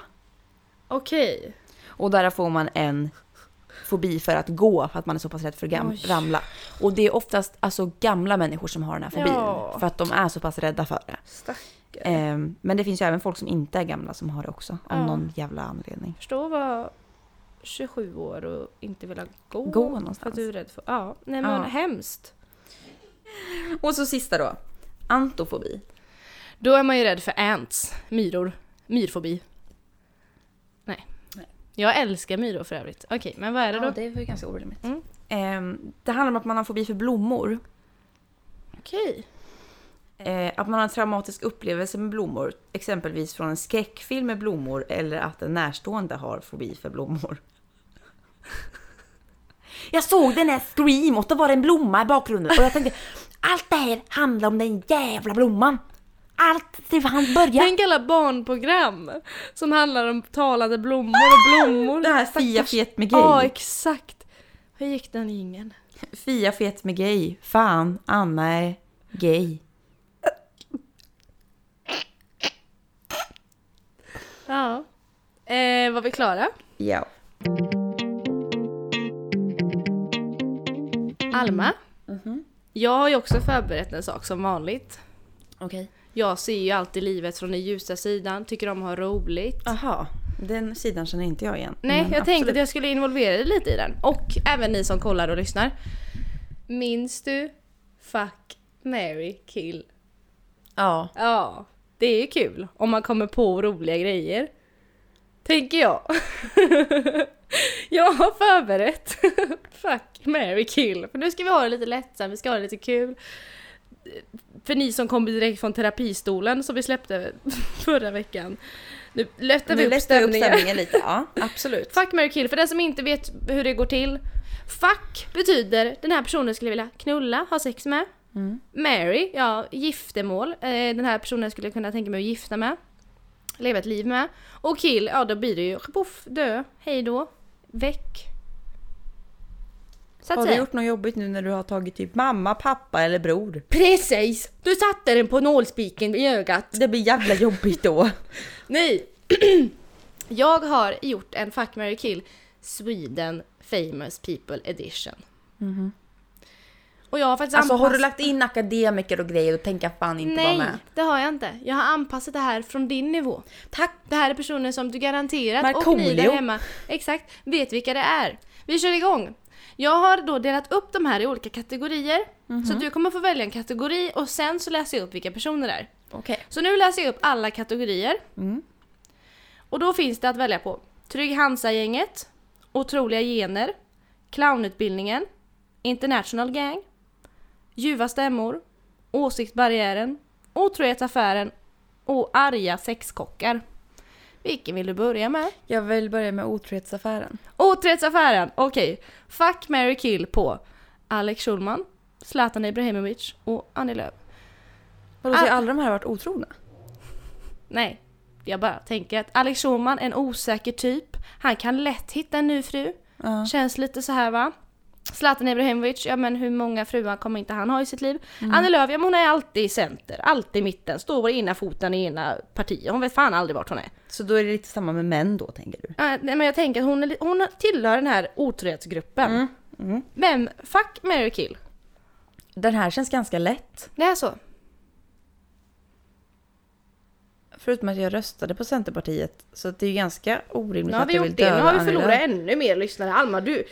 B: Okej.
A: Och där får man en fobi för att gå för att man är så pass rädd för att
B: Oj.
A: gam- ramla. Och det är oftast alltså, gamla människor som har den här fobin.
B: Ja.
A: För att de är så pass rädda för det.
B: Stackare.
A: Ehm, men det finns ju även folk som inte är gamla som har det också. Av
B: Ja.
A: någon jävla anledning.
B: Förstå vad 27 år och inte vilja gå.
A: Gå
B: För att
A: någonstans.
B: du är rädd för... Ja. Nej men
A: Ja.
B: hemskt.
A: Och så sista då. Antofobi.
B: Då är man ju rädd för ants, myror, myrfobi. Nej. Jag älskar myror för övrigt. Okej, men vad är det då?
A: det var ju ganska orimligt.
B: Mm.
A: Ehm, det handlar om att man har fobi för blommor.
B: Okej.
A: Eh, att man har en traumatisk upplevelse med blommor. Exempelvis från en skräckfilm med blommor eller att en närstående har fobi för blommor. Jag såg den här Scream och då var det en blomma i bakgrunden och jag tänkte allt det här handlar om den jävla blomman. Allt till han börjar.
B: Tänk alla barnprogram som handlar om talande blommor och blommor.
A: Det här Fia fet med
B: Ja,
A: gay.
B: exakt. Hur gick den ingen?
A: Fia fet med gay. Fan, Anna är gay.
B: Ja. Eh, var vi klara?
A: Ja.
B: Alma, jag har ju också förberett en sak som vanligt.
A: Okej.
B: Jag ser ju alltid livet från den ljusa sidan, tycker om att ha roligt.
A: Aha, den sidan känner inte jag igen.
B: Nej,
A: Men
B: jag tänkte att
A: Mm, absolut.
B: jag skulle involvera dig lite i den. Och även ni som kollar och lyssnar. Minns du Fuck, Mary kill?
A: Ja.
B: Ja, det är ju kul om man kommer på roliga grejer. Tänker jag. jag har förberett Fuck, Mary kill. För nu ska vi ha det lite lättsamt, vi ska ha det lite kul. För ni som kom direkt från terapistolen som vi släppte förra veckan. Nu lättar vi
A: Nu
B: upp
A: lättar jag upp
B: stämningen.
A: stämningen lite. Ja, absolut.
B: Fuck, marry, kill. För den som inte vet hur det går till. Fuck betyder den här personen skulle jag vilja knulla, ha sex med.
A: Mm.
B: Marry, ja, giftermål. Eh, den här personen skulle jag kunna tänka mig att gifta med. Leva ett liv med. Och kill, ja då blir det ju poff, dö, hej då, väck. Så att
A: Har du
B: säga.
A: gjort något jobbigt nu när du har tagit typ mamma, pappa eller bror?
B: Precis! Du satte den på nålspiken i ögat.
A: Det blir jävla jobbigt då.
B: Nej! jag har gjort en Fuck, marry, kill Sweden famous people edition. Och jag har faktiskt
A: Mhm. Alltså har du
B: anpassat-
A: lagt in akademiker och grejer och tänker fan inte
B: Nej,
A: vara med?
B: det har jag inte. Jag har anpassat det här från din nivå.
A: Tack!
B: Det här är personer som du garanterat och ni där
A: Markoolio.
B: hemma exakt vet vilka det är. Vi kör igång. Jag har då delat upp de här i olika kategorier.
A: Mhm.
B: Så att du kommer få välja en kategori och sen så läser jag upp vilka personer det är.
A: Okej.
B: Så nu läser jag upp alla kategorier.
A: Mm.
B: Och då finns det att välja på Trygg Hansa-gänget, Otroliga Gener, Clownutbildningen, International Gang, Ljuva Stämmor, Åsiktsbarriären, Otrohetsaffären och Arga Sexkockar. Vilken vill du börja med?
A: Jag vill börja med otrohetsaffären.
B: Otrohetsaffären! Okej. Fuck, marry, kill på Alex Schulman, Zlatan Ibrahimovic och Annie Lööf.
A: Vadå, så har alla de här varit otrogna?
B: Nej, jag bara tänker att Alex Schulman, en osäker typ. Han kan lätt hitta en ny fru.
A: Ja.
B: Känns lite så här va. Zlatan Ibrahimovic, ja men hur många fruar kommer inte han ha i sitt liv? Annie Lööf, ja men hon är alltid i center, alltid i mitten, står på ena foten i ena partiet. Hon vet fan aldrig vart hon är.
A: Så då är det lite samma med män då, tänker du?
B: Ja, nej, men jag tänker att hon, är, li- hon tillhör den här otrohetsgruppen. Vem, Mm. fuck, marry, kill?
A: Den här känns ganska lätt.
B: Det är så.
A: Förutom att jag röstade på Centerpartiet. Så att det är ju ganska orimligt
B: Nu har
A: att
B: vi
A: jag vill
B: gjort det, nu
A: döda
B: har vi
A: Annie Lööf.
B: förlorat ännu mer lyssnare. Alma du,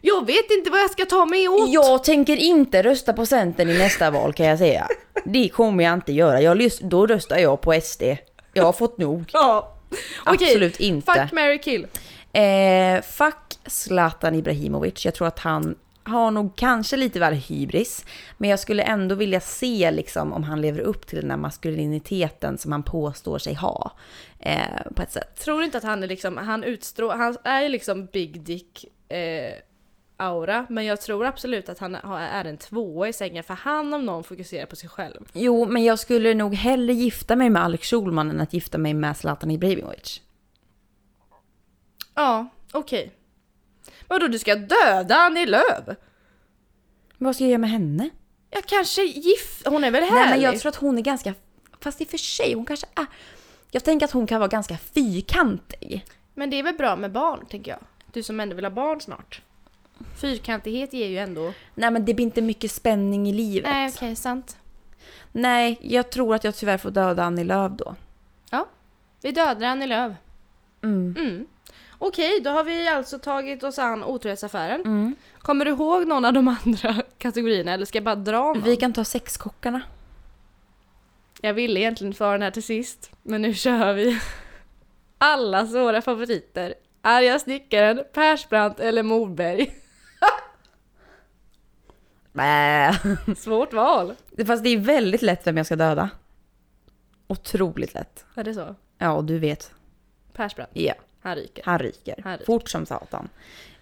B: jag vet inte vad jag ska ta mig åt.
A: Jag tänker inte rösta på Centern i nästa val kan jag säga. Det kommer jag inte göra. Jag lys- då röstar jag på SD. Jag har fått nog.
B: Ja, Okej,
A: Absolut inte.
B: Fuck, marry, kill.
A: Eh, fuck Zlatan Ibrahimovic. Jag tror att han har nog kanske lite väl hybris. Men jag skulle ändå vilja se liksom, om han lever upp till den där maskuliniteten som han påstår sig ha. Eh, på ett sätt.
B: Tror inte att han är liksom, han utstrålar, han är ju liksom big dick eh, aura. Men jag tror absolut att han har- är en tvåa i sängen för han om någon fokuserar på sig själv.
A: Jo, men jag skulle nog hellre gifta mig med Alex Schulman än att gifta mig med Zlatan Ibrahimovic.
B: Ja, okej. Vadå du ska döda Annie Lööf?
A: Men vad ska jag göra med henne?
B: Jag kanske gift... Hon är väl härlig?
A: Nej, men jag tror att hon är ganska... Fast i och för sig, hon kanske är... Jag tänker att hon kan vara ganska fyrkantig.
B: Men det är väl bra med barn, tänker jag. Du som ändå vill ha barn snart. Fyrkantighet ger ju ändå...
A: Nej, men det blir inte mycket spänning i livet.
B: Nej, okej, sant.
A: Nej, jag tror att jag tyvärr får döda Annie Lööf då.
B: Vi dödar Annie Lööf.
A: Mm.
B: Mm. Okej, då har vi alltså tagit oss an otrohetsaffären.
A: Mm.
B: Kommer du ihåg någon av de andra kategorierna eller ska jag bara dra någon?
A: Vi kan ta sexkockarna.
B: Jag ville egentligen föra den här till sist, men nu kör vi. Allas våra favoriter. Arga snickaren, Persbrandt eller Morberg.
A: Bäh.
B: Svårt val.
A: Fast det är väldigt lätt vem jag ska döda. Otroligt lätt.
B: Är det så?
A: Ja, och du vet.
B: Persbrandt,
A: Ja,
B: han ryker.
A: han ryker.
B: Han ryker.
A: Fort som satan.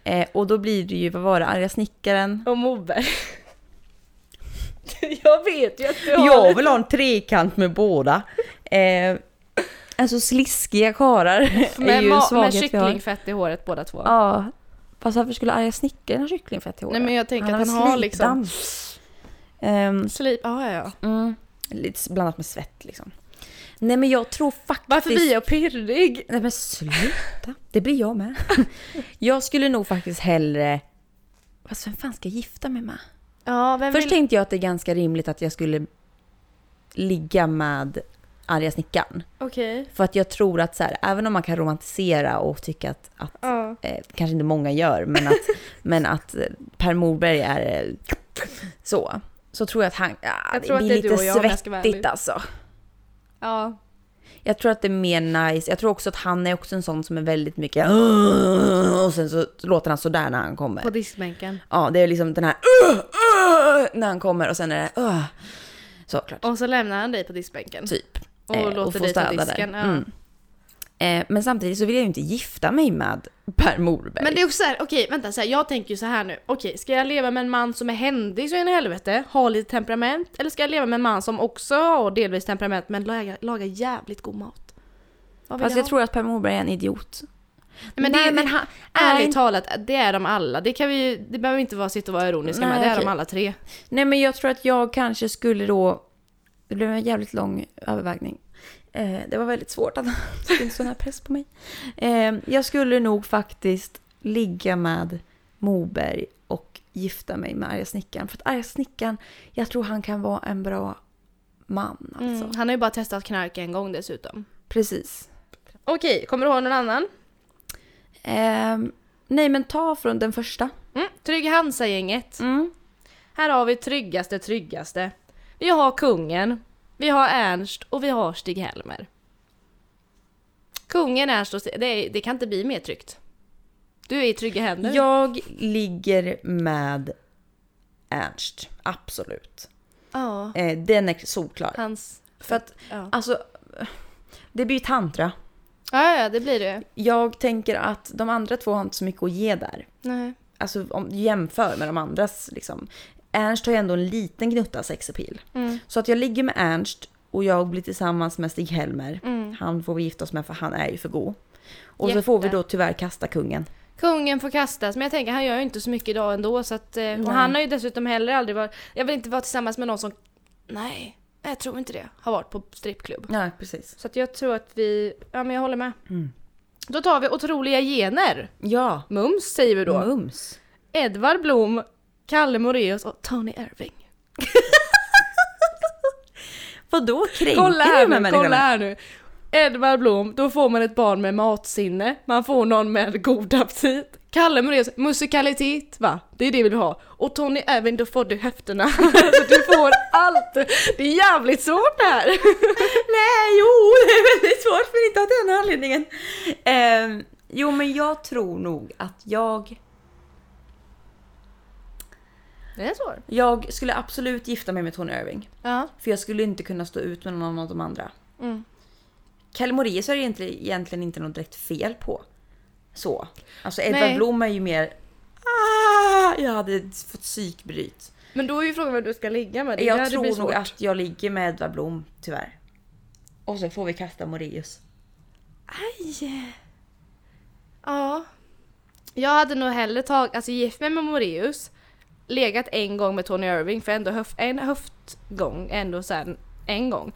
A: Eh, och då blir det ju, vad var det, arga snickaren?
B: Och Morberg. jag vet ju att du har
A: Jag
B: lite-
A: vill ha en trekant med båda. Eh, alltså sliskiga karlar är
B: med,
A: ju en
B: ma- med
A: svaghet vi har.
B: kycklingfett i håret båda två.
A: Ja. Fast varför skulle arga snickaren ha kycklingfett i håret?
B: Nej men jag tänker att
A: väl
B: han har liksom... Mm.
A: slipdamm. Ehm,
B: Slip, ja ja ja.
A: Lite blandat med svett liksom. Nej men jag tror faktiskt...
B: Varför blir jag pirrig?
A: Nej men sluta. Det blir jag med. jag skulle nog faktiskt hellre... Alltså vem fan ska jag gifta mig med?
B: Ja, vem
A: Först tänkte jag att det är ganska rimligt att jag skulle ligga med arga snickaren.
B: Okej.
A: För att jag tror att så här, även om man kan romantisera och tycka att, att
B: Ja.
A: eh, kanske inte många gör, men att, men att eh, Per Morberg är eh, så. Så tror jag att han, ja,
B: Jag
A: det
B: tror att
A: blir
B: det är du
A: lite
B: och jag, om jag ska vara
A: svettigt
B: ärlig.
A: alltså.
B: ja.
A: Jag tror att det är mer nice. Jag tror också att han är också en sån som är väldigt mycket "Åh", och sen så låter han sådär när han kommer.
B: På diskbänken.
A: Ja, det är liksom den här "Åh, åh", när han kommer och sen är det "Åh". såklart.
B: Och så lämnar han dig på diskbänken.
A: Typ.
B: Och låter
A: få
B: dig ta
A: städa där.
B: disken, ja.
A: Mm. Eh, men samtidigt så vill jag ju inte gifta mig med Per Morberg.
B: Men det är också såhär, okej vänta så här, jag tänker ju så här nu. Okej, ska jag leva med en man som är händig så in i helvete, har lite temperament? Eller ska jag leva med en man som också har delvis temperament men lagar, lagar jävligt god mat? Vad vill
A: Fast
B: jag
A: jag
B: ha?
A: tror att Per Morberg är en idiot.
B: men det,
A: Nej,
B: är
A: men han-
B: ärligt
A: nej.
B: talat, det är de alla. Det, kan vi, ju- det behöver vi inte vara, sitta och vara ironiska
A: Nej,
B: med, det är
A: okej.
B: de alla tre.
A: Nej men jag tror att jag kanske skulle då... Det blev en jävligt lång övervägning. Eh, det var väldigt svårt att det är inte sån här press på mig. Eh, jag skulle nog faktiskt ligga med Moberg och gifta mig med arga snickaren. För att arga snickaren, jag tror han kan vara en bra man alltså.
B: Mm. Han har ju bara testat knark en gång dessutom.
A: Precis.
B: Okej, kommer du ha någon annan?
A: Eh, nej men ta från den första.
B: Mm. Trygg Hansa-gänget. Här har vi tryggaste tryggaste. Vi har kungen, vi har Ernst och vi har Stig-Helmer. Kungen, Ernst och Stig, det, är- det kan inte bli mer tryggt. Du är i trygga händer.
A: Jag ligger med Ernst, absolut.
B: Ja.
A: Eh, den är solklar.
B: Hans...
A: För att,
B: Ja.
A: alltså, det blir ju tantra.
B: Ja, ja, det blir det.
A: Jag tänker att de andra två har inte så mycket att ge där.
B: Nej.
A: Alltså om du jämför med de andras liksom. Ernst har ju ändå en liten gnutta sexapil.
B: Mm.
A: Så att jag ligger med Ernst och jag blir tillsammans med Stig-Helmer.
B: Mm.
A: Han får vi gifta oss med för han är ju för god. Och
B: Jätte.
A: så får vi då tyvärr kasta kungen.
B: Kungen får kastas, men jag tänker han gör ju inte så mycket idag ändå så att... eh, Och han har ju dessutom heller aldrig varit... Jag vill inte vara tillsammans med någon som... Nej, jag tror inte det. Har varit på strippklubb.
A: Ja, precis.
B: Så att jag tror att vi... Ja, men jag håller med.
A: Mm.
B: Då tar vi otroliga gener.
A: Ja,
B: Mums säger vi
A: Mm.
B: då.
A: mums.
B: Edvard Blom, Kalle Moreus och Tony Irving.
A: Vadå kränker
B: Kolla
A: du
B: här
A: med
B: nu, kolla
A: människorna?
B: här nu. Edvard Blom, då får man ett barn med matsinne, man får någon med god aptit. Kalle Moraeus musikalitet va? Det är det vi vill ha. Och Tony Irving, då får du höfterna. Så du får allt! Det är jävligt svårt det här!
A: Nej, jo, det är väldigt svårt men inte av den anledningen. Ehm, jo, men jag tror nog att jag...
B: Det är svårt.
A: Jag skulle absolut gifta mig med Tony Irving.
B: Ja.
A: För jag skulle inte kunna stå ut med någon av de andra.
B: Mm.
A: Kalle Moraeus är det egentligen- egentligen inte något direkt fel på. Så. Alltså
B: Nej.
A: Edvard Blom är ju mer... Ah, jag hade fått psykbryt.
B: Men då är ju frågan vem du ska ligga med. Det är
A: Jag
B: där det blir
A: tror nog
B: svårt.
A: att jag ligger med Edvard Blom, tyvärr. Och så får vi kasta Moraeus.
B: Ja. Jag hade nog hellre tagit, alltså gift mig med Moraeus, legat en gång med Tony Irving, för ändå höf, en höftgång, ändå sen en gång.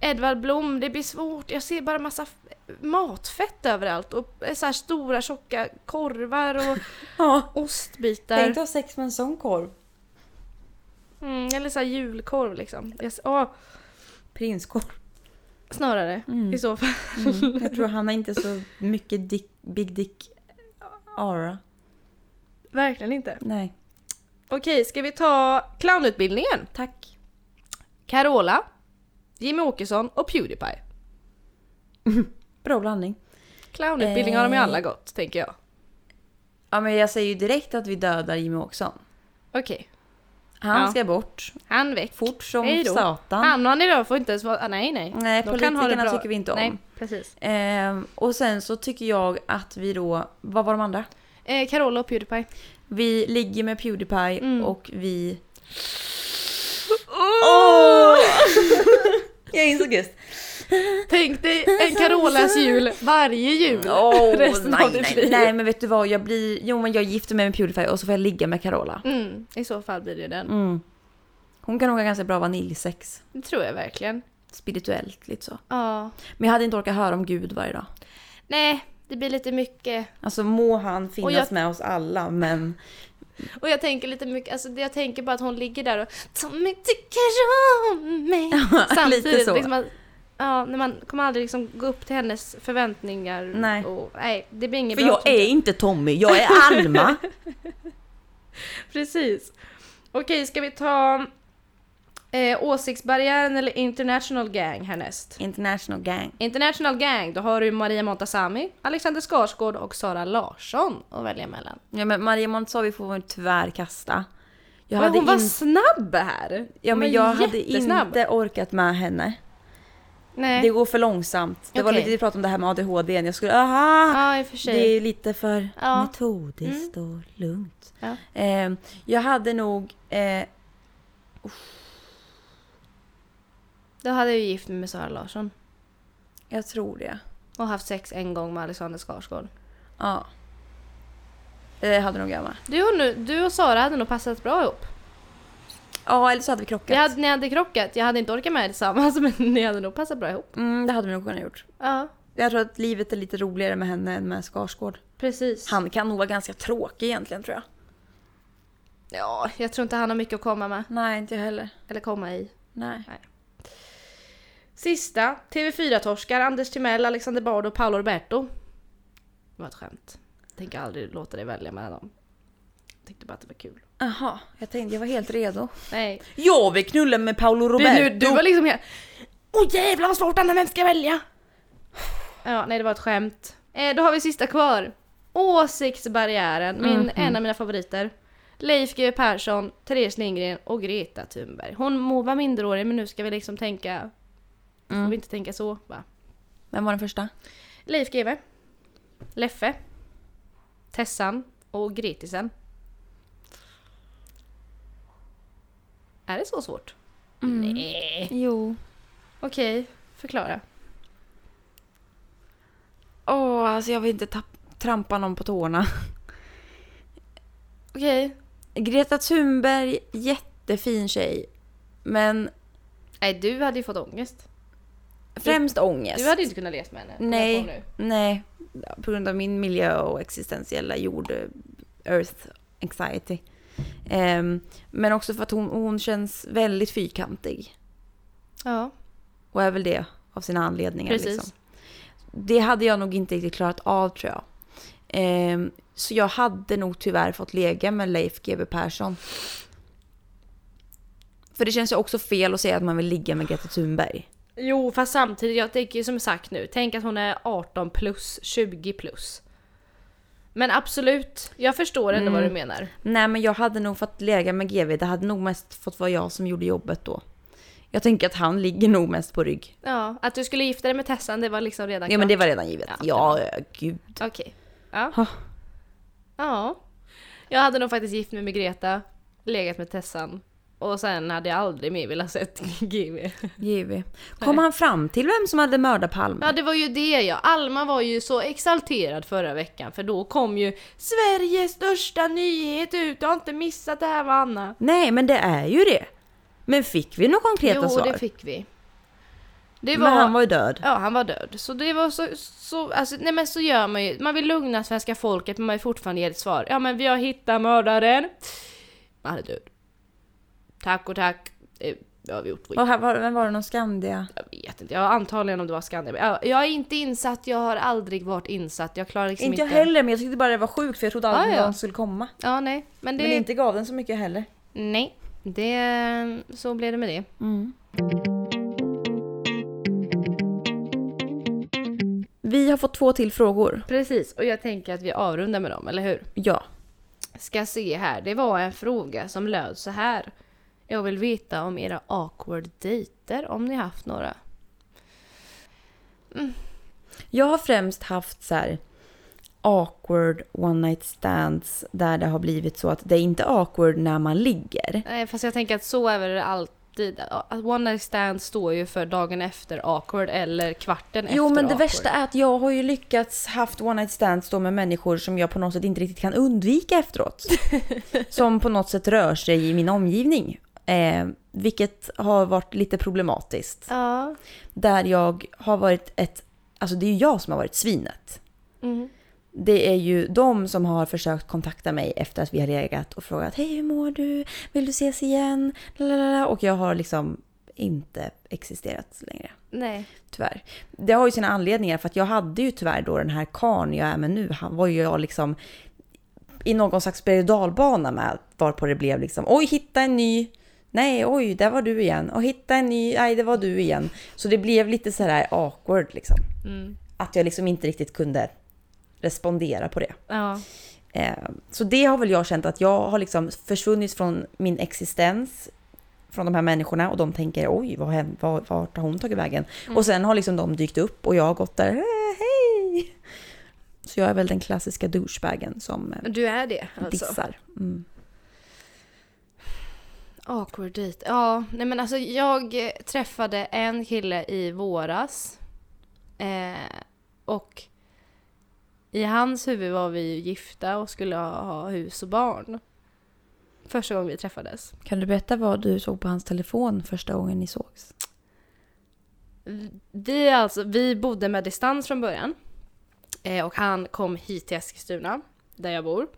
B: Edvard Blom, det blir svårt, jag ser bara massa f- matfett överallt och eh, så här stora tjocka korvar och
A: Ja.
B: ostbitar.
A: ha sex med en sån korv.
B: Mm, eller så här julkorv liksom. Jag, s- åh,
A: Prinskorv.
B: snarare
A: Mm.
B: i så fall. mm.
A: Jag tror han har inte så mycket dick, big dick aura.
B: Verkligen inte.
A: Nej.
B: Okej, ska vi ta clownutbildningen?
A: Tack.
B: Carola, Jimmy Åkesson och Pewdiepie.
A: Bra blandning.
B: Clownutbildning har de
A: Eh.
B: ju alla gått, tänker jag.
A: Ja men jag säger ju direkt att vi dödar Jimmy Åkesson.
B: Okej.
A: Han
B: Ja.
A: ska bort.
B: Han väck.
A: Fort som
B: Hej då.
A: satan.
B: Han och Annie Lööf får inte ens vara... Ah, nej, nej.
A: Nej,
B: De kan ha det
A: politikerna
B: bra.
A: tycker vi inte om.
B: Nej, precis.
A: Ehm, och sen så tycker jag att vi då, vad var de andra?
B: Eh, Carola och Pewdiepie.
A: Vi ligger med Pewdiepie
B: Mm.
A: och vi... jag insåg just.
B: Tänk dig en Carolas jul varje jul.
A: Åh,
B: Resten
A: Oh, nej,
B: av ditt
A: nej,
B: liv.
A: nej men vet du vad, jag blir... Jo men jag gifter mig med Pewdiepie och så får jag ligga med Carola.
B: Mm, I så fall blir det ju den.
A: Mm. Hon kan nog ha ganska bra vaniljsex.
B: Det tror jag verkligen.
A: Spirituellt lite så.
B: Ja.
A: Men jag hade inte orkat höra om Gud varje dag.
B: Nej, det blir lite mycket.
A: Alltså må han finnas
B: jag-
A: med oss alla men...
B: Och jag tänker lite mycket, alltså jag tänker bara att hon ligger där och Tommy tycker om mig. Samtidigt
A: lite så.
B: liksom att, ja, när man kommer aldrig liksom gå upp till hennes förväntningar.
A: Nej.
B: Och, nej, det blir inget
A: För
B: bra.
A: jag är inte Tommy, jag är Alma.
B: Precis. Okej, ska vi ta eh, åsiktsbarriären eller international gang härnäst?
A: International gang.
B: International gang, då har du Maria Montazami, Alexander Skarsgård och Sara Larsson att välja mellan.
A: Ja men Maria Montazami får man tyvärr kasta. Jag
B: Men
A: hade,
B: hon var
A: in...
B: snabb här!
A: ja, men
B: Hon
A: jag
B: var
A: hade
B: jättesnabb.
A: inte orkat med henne.
B: Nej.
A: Det går för långsamt. Det var
B: Okej.
A: lite, vi pratade om det här med ADHD. n. Jag skulle, aha!
B: Ja, i och för sig.
A: Ah, det är lite för
B: Ja.
A: metodiskt och lugnt.
B: Ja.
A: Eh, jag hade nog, eh,
B: Då hade jag ju gift mig med Sara Larsson
A: jag tror det.
B: och haft sex en gång med Alexander Skarsgård.
A: Ja. Det hade nog jag med.
B: Du och, nu, du och Sara hade nog passat bra ihop.
A: Ja eller så hade vi krockat.
B: Vi hade, ni hade krockat, jag hade inte orkat med er tillsammans men ni hade nog passat bra ihop.
A: Mm, det hade vi nog kunnat gjort.
B: Ja,
A: Jag tror att livet är lite roligare med henne än med Skarsgård.
B: precis.
A: Han kan nog vara ganska tråkig egentligen tror jag.
B: Ja, jag tror inte han har mycket att komma med.
A: Nej inte jag heller.
B: Eller komma i.
A: Nej.
B: Sista, TV4-torskar, Anders Timell, Alexander Bard och Paolo Roberto. Det var ett skämt. Tänker aldrig låta dig välja mellan dem. Tyckte bara att det var kul.
A: Jaha, jag tänkte jag var helt redo.
B: Nej.
A: Jag vill knulla med Paolo Roberto.
B: Du, du var liksom helt... Åh jävlar vad svårt Anna, vem ska jag välja? Ja, nej det var ett skämt. Eh, då har vi sista kvar. Åsiktsbarriären, min, en av mina favoriter. Leif GW Persson, Therese Lindgren och Greta Thunberg. Hon må vara minderårig men nu ska vi liksom tänka... Får vi inte tänka så va?
A: Vem var den första?
B: Leif GW, Leffe, Tessan och Gretisen. Är det så svårt? Nej.
A: Jo.
B: Okej, förklara.
A: Åh, alltså jag vill inte tapp- trampa någon på tårna.
B: Okej.
A: Greta Thunberg, jättefin tjej. Men
B: Nej, du hade ju fått ångest.
A: främst ångest.
B: Du hade ju inte kunnat leva med henne. kommer jag på
A: Nej,
B: nu.
A: nej. På grund av min miljö och existentiella jord, eh, earth anxiety. Ehm, men också för att hon, hon känns väldigt fyrkantig.
B: Ja,
A: Och är väl det av sina anledningar.
B: precis.
A: Liksom. Det hade jag nog inte riktigt klarat av tror jag. Ehm, så jag hade nog tyvärr fått lägga med Leif GW Persson. För det känns ju också fel att säga att man vill ligga med Greta Thunberg.
B: Jo fast samtidigt, jag tänker ju som sagt nu, tänk att hon är 18 plus, 20 plus. Men absolut, jag förstår ändå
A: Mm.
B: vad du menar.
A: Nej men jag hade nog fått lägga med GW. Det hade nog mest fått vara jag som gjorde jobbet då. Jag tänker att han ligger nog mest på rygg.
B: Ja, att du skulle gifta dig med Tessan det var liksom redan
A: Ja men det var redan givet.
B: Ja, det
A: Ja, ja gud.
B: klart. Okej. Ja.
A: Ha.
B: ja. Jag hade nog faktiskt gift mig med Greta, legat med Tessan och sen hade jag aldrig mer velat sett GW.
A: GW. Kom han fram till vem som hade mördat Palme?
B: Ja det var ju det ja, Alma var ju så exalterad förra veckan för då kom ju Sveriges största nyhet ut, jag har inte missat det här med Anna.
A: Nej, men det är ju det. Men fick vi några konkreta
B: Jo
A: svar?
B: det fick vi. Det
A: Men han var ju död.
B: Ja, han var död. Så det var så, så alltså, nej men så gör man ju. Man vill lugna svenska folket men man vill fortfarande ge ett svar. Ja men vi har hittat mördaren. Men han är död. Tack och tack. Eh, Det har vi gjort.
A: Och här var, vem var det? Någon Skandia?
B: Jag vet inte, jag antagligen om det var Skandia. men Jag, jag är inte insatt, jag har aldrig varit insatt. Jag klarar liksom
A: Inte
B: inte...
A: jag heller, men jag tyckte bara det var sjukt för jag trodde aldrig
B: Ah, ja.
A: någon skulle komma.
B: Ja, nej. Men det...
A: Men inte gav den så mycket heller.
B: Nej. Det... Så blev det med det.
A: Vi har fått två till frågor.
B: Precis, och jag tänker att vi avrundar med dem, eller hur?
A: Ja.
B: ska se här. Det var en fråga som löd så här. Jag vill veta om era awkward dejter, om ni haft några.
A: Jag har främst haft så här awkward one night stands där det har blivit så att det är inte awkward när man ligger.
B: Nej, fast jag tänker att så är väl det alltid. Att One night stand står ju för dagen efter awkward eller kvarten efter
A: Jo men det
B: awkward.
A: värsta är att jag har ju lyckats haft one night stands då med människor som jag på något sätt inte riktigt kan undvika efteråt. som på något sätt rör sig i min omgivning. Eh, vilket har varit lite problematiskt.
B: Ja.
A: Där jag har varit ett, alltså det är ju jag som har varit svinet.
B: Mm.
A: Det är ju de som har försökt kontakta mig efter att vi har legat och frågat hej hur mår du, vill du ses igen? Lalalala. Och jag har liksom inte existerat längre
B: Nej.
A: tyvärr. Det har ju sina anledningar för att jag hade ju tyvärr då den här karln jag är med nu, han var ju jag liksom i någon slags berg och dalbana med varpå det blev liksom oj hitta en ny, nej oj där var du igen och hitta en ny, nej det var du igen. Så det blev lite så här awkward liksom.
B: Mm.
A: Att jag liksom inte riktigt kunde respondera på det.
B: Ja.
A: Eh, Så det har väl jag känt att jag har liksom försvunnit från min existens från de här människorna och de tänker oj, vad händ, vad, vart har hon tagit vägen?
B: Mm.
A: Och sen har liksom de dykt upp och jag har gått där, "Eh, hej! Så jag är väl den klassiska douchebagen som eh,
B: Du är det alltså?
A: dissar. Mm.
B: Awkward dejt. Ja, nej men alltså jag eh, träffade en kille i våras. Eh, och i hans huvud var vi ju gifta och skulle ha, ha hus och barn. Första gången vi träffades.
A: Kan du berätta vad du såg på hans telefon första gången ni sågs?
B: Vi, alltså, vi bodde med distans från början. Eh, och han kom hit till Eskilstuna, där jag bor.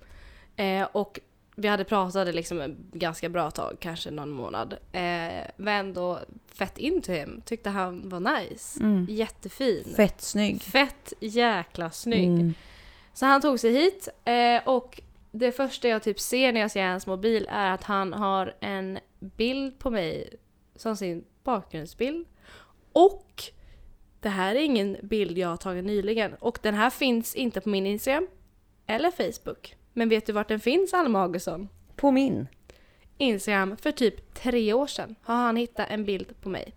B: Eh, och vi hade pratat liksom ett ganska bra tag, kanske någon månad. Eh, var ändå fett into him. Tyckte han var nice. Jättefin.
A: Fett snygg.
B: Fett jäkla snygg.
A: Mm.
B: Så han tog sig hit eh, och det första jag typ ser när jag ser hans mobil är att han har en bild på mig som sin bakgrundsbild. Och det här är ingen bild jag har tagit nyligen och den här finns inte på min Instagram eller Facebook. Men vet du vart den finns Alma Augustsson?
A: På min.
B: Instagram för typ tre år sedan har han hittat en bild på mig.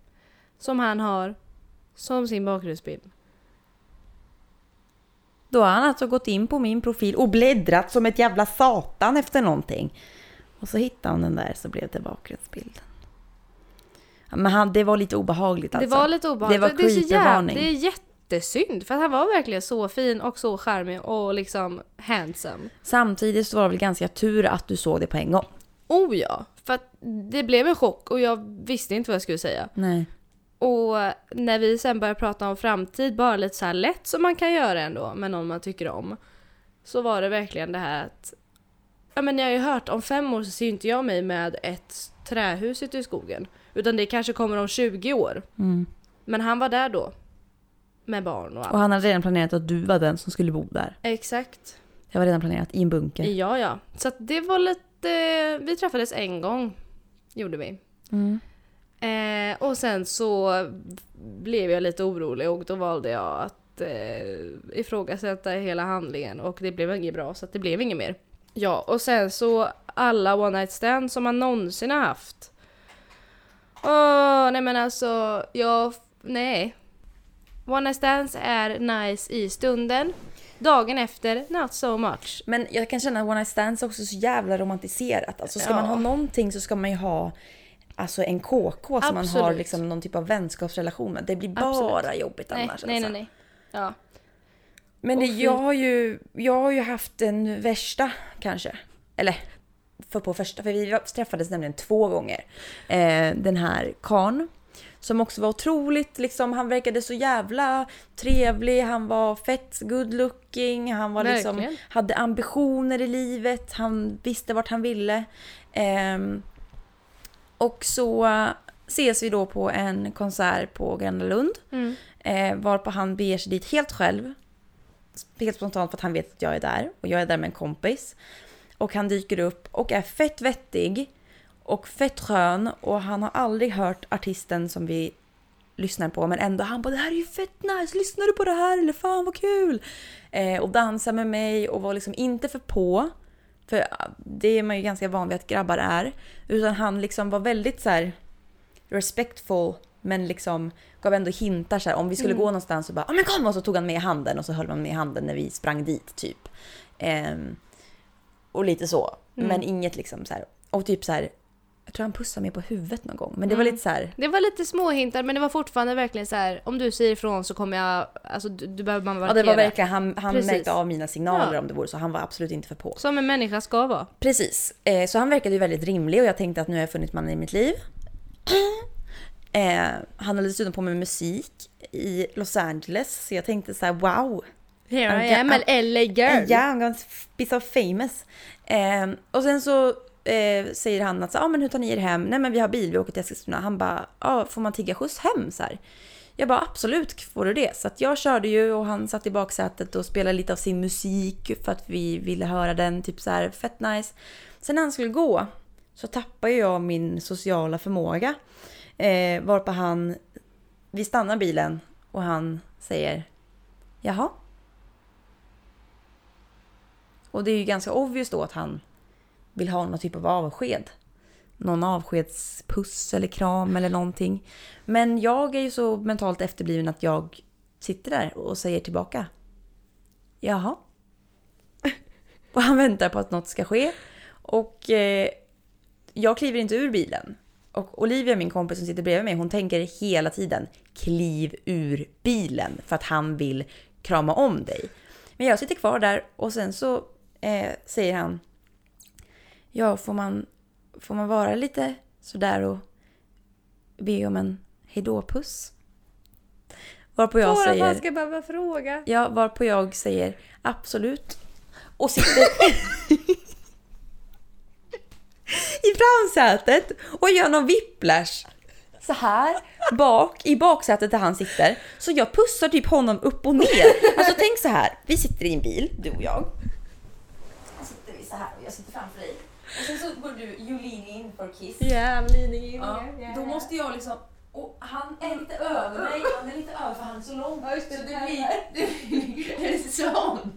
B: Som han har som sin bakgrundsbild.
A: Då har han alltså gått in på min profil och bläddrat som ett jävla satan efter någonting. Och så hittade han den där så blev det bakgrundsbilden. Ja, Men han, det var lite obehagligt alltså.
B: Det var lite obehagligt.
A: Det var
B: är så jävla-
A: creepervarning.
B: Det är jättesynd för att han var verkligen så fin och så charmig och liksom handsome.
A: Samtidigt så var det väl ganska tur att du såg det på en gång.
B: Oh ja! För att det blev en chock och jag visste inte vad jag skulle säga.
A: Nej.
B: Och när vi sen började prata om framtid, bara lite så här lätt som man kan göra ändå med någon man tycker om. Så var det verkligen det här att... Ja men ni har ju hört, om fem år så ser ju inte jag mig med ett trähus ute i skogen. Utan det kanske kommer om 20 år.
A: Mm.
B: Men han var där då. Med barn och allt.
A: Och han hade redan planerat att du var den som skulle bo där.
B: Exakt.
A: Det var redan planerat i en bunker.
B: Ja, ja. Så att det var lite... Vi träffades en gång. Gjorde vi.
A: Mm.
B: Eh, och sen så blev jag lite orolig och då valde jag att eh, ifrågasätta hela handlingen och det blev inget bra så att det blev inget mer. Ja, och sen så alla one night stands som man någonsin har haft. Åh, nej men alltså, jag... Nej. One night stands är nice i stunden. Dagen efter, not so much.
A: Men jag kan känna att One Night Stands också är så jävla romantiserat. Alltså ska
B: Ja.
A: man ha någonting så ska man ju ha alltså en KK som man har
B: Absolut.
A: liksom någon typ av vänskapsrelation med. Det blir bara jobbigt
B: Nej,
A: annars.
B: nej, nej,
A: alltså.
B: nej. Ja.
A: Men det,
B: Och fy-
A: jag, har ju, jag har ju haft den värsta kanske. Eller för på första, för vi träffades nämligen två gånger. Eh, den här karn som också var otroligt, liksom, han verkade så jävla trevlig, han var fett good looking, han var liksom,
B: Verkligen.
A: hade ambitioner i livet, han visste vart han ville. Ehm, och så eh, ses vi då på en konsert på Gröna Lund.
B: Mm.
A: Eh, varpå han beger sig dit helt själv. Helt spontant för att han vet att jag är där. Och jag är där med en kompis. Och han dyker upp och är fett vettig. Och fett skön. Och han har aldrig hört artisten som vi lyssnar på. Men ändå han bara “det här är ju fett nice, lyssnar du på det här? Eller fan vad kul!” eh, Och dansar med mig och var liksom inte för på. För eh, det är man ju ganska van vid att grabbar är. Utan han liksom var väldigt så här respectful men liksom gav ändå hintar så här, om vi skulle gå någonstans så bara "Ja, men kom och så tog han med handen och så höll man med handen när vi sprang dit typ. Ehm, och lite så. Men inget liksom så här. Och typ så här. Jag tror han pussade mig på huvudet någon gång men
B: Mm.
A: det var lite så här.
B: Det var lite små hintar men det var fortfarande verkligen så här. om du säger ifrån så kommer jag, alltså du, du behöver man
A: Ja,
B: markera.
A: det var verkligen, han, han
B: Precis.
A: märkte av mina signaler
B: Ja.
A: om det vore så. Han var absolut inte för på.
B: Som en människa ska vara.
A: Precis, eh, så han verkade ju väldigt rimlig och jag tänkte att nu har jag funnit mannen i mitt liv. Eh, han höll dessutom på med musik i Los Angeles så jag tänkte så här: wow,
B: Here
A: I am, an
B: LA
A: Yeah, I'm gonna be so famous. Eh, och sen så eh, säger han att så, ah, men hur tar ni er hem? Nej men vi har bil, vi åker till Eskilstuna. Han bara, ah, får man tigga skjuts hem? Så här. Jag bara absolut får du det. Så att jag körde ju och han satt i baksätet och spelade lite av sin musik för att vi ville höra den. Typ så här, fett nice. Sen när han skulle gå så tappade jag min sociala förmåga. Eh, varpå han, vi stannar bilen och han säger Jaha? Och det är ju ganska obvious då att han vill ha någon typ av avsked. Någon avskedspuss eller kram eller någonting. Men jag är ju så mentalt efterbliven att jag sitter där och säger tillbaka. Jaha? Och han väntar på att något ska ske. Och eh, jag kliver inte ur bilen. Och Olivia, min kompis som sitter bredvid mig, hon tänker hela tiden kliv ur bilen för att han vill krama om dig. Men jag sitter kvar där och sen så eh, säger han Ja, får man, får man vara lite sådär och be om en hejdå-puss? Varpå jag
B: Bara
A: säger
B: man ska behöva fråga.
A: Ja, varpå jag säger absolut. Och sitter i framsätet och gör någon whiplash. Så här bak i baksätet där han sitter. Så jag pussar typ honom upp och ner. Alltså tänk så här. Vi sitter i en bil, du och jag. Så sitter vi så här och jag sitter framför dig. Och sen så går du, you lean in for a kiss.
B: Yeah, I'm leaning in
A: Ja,
B: here, yeah.
A: då måste jag liksom... Och han är lite över mig, han är lite över för han är så lång.
B: Ja, just det,
A: så det
B: där.
A: blir... Det blir en sån.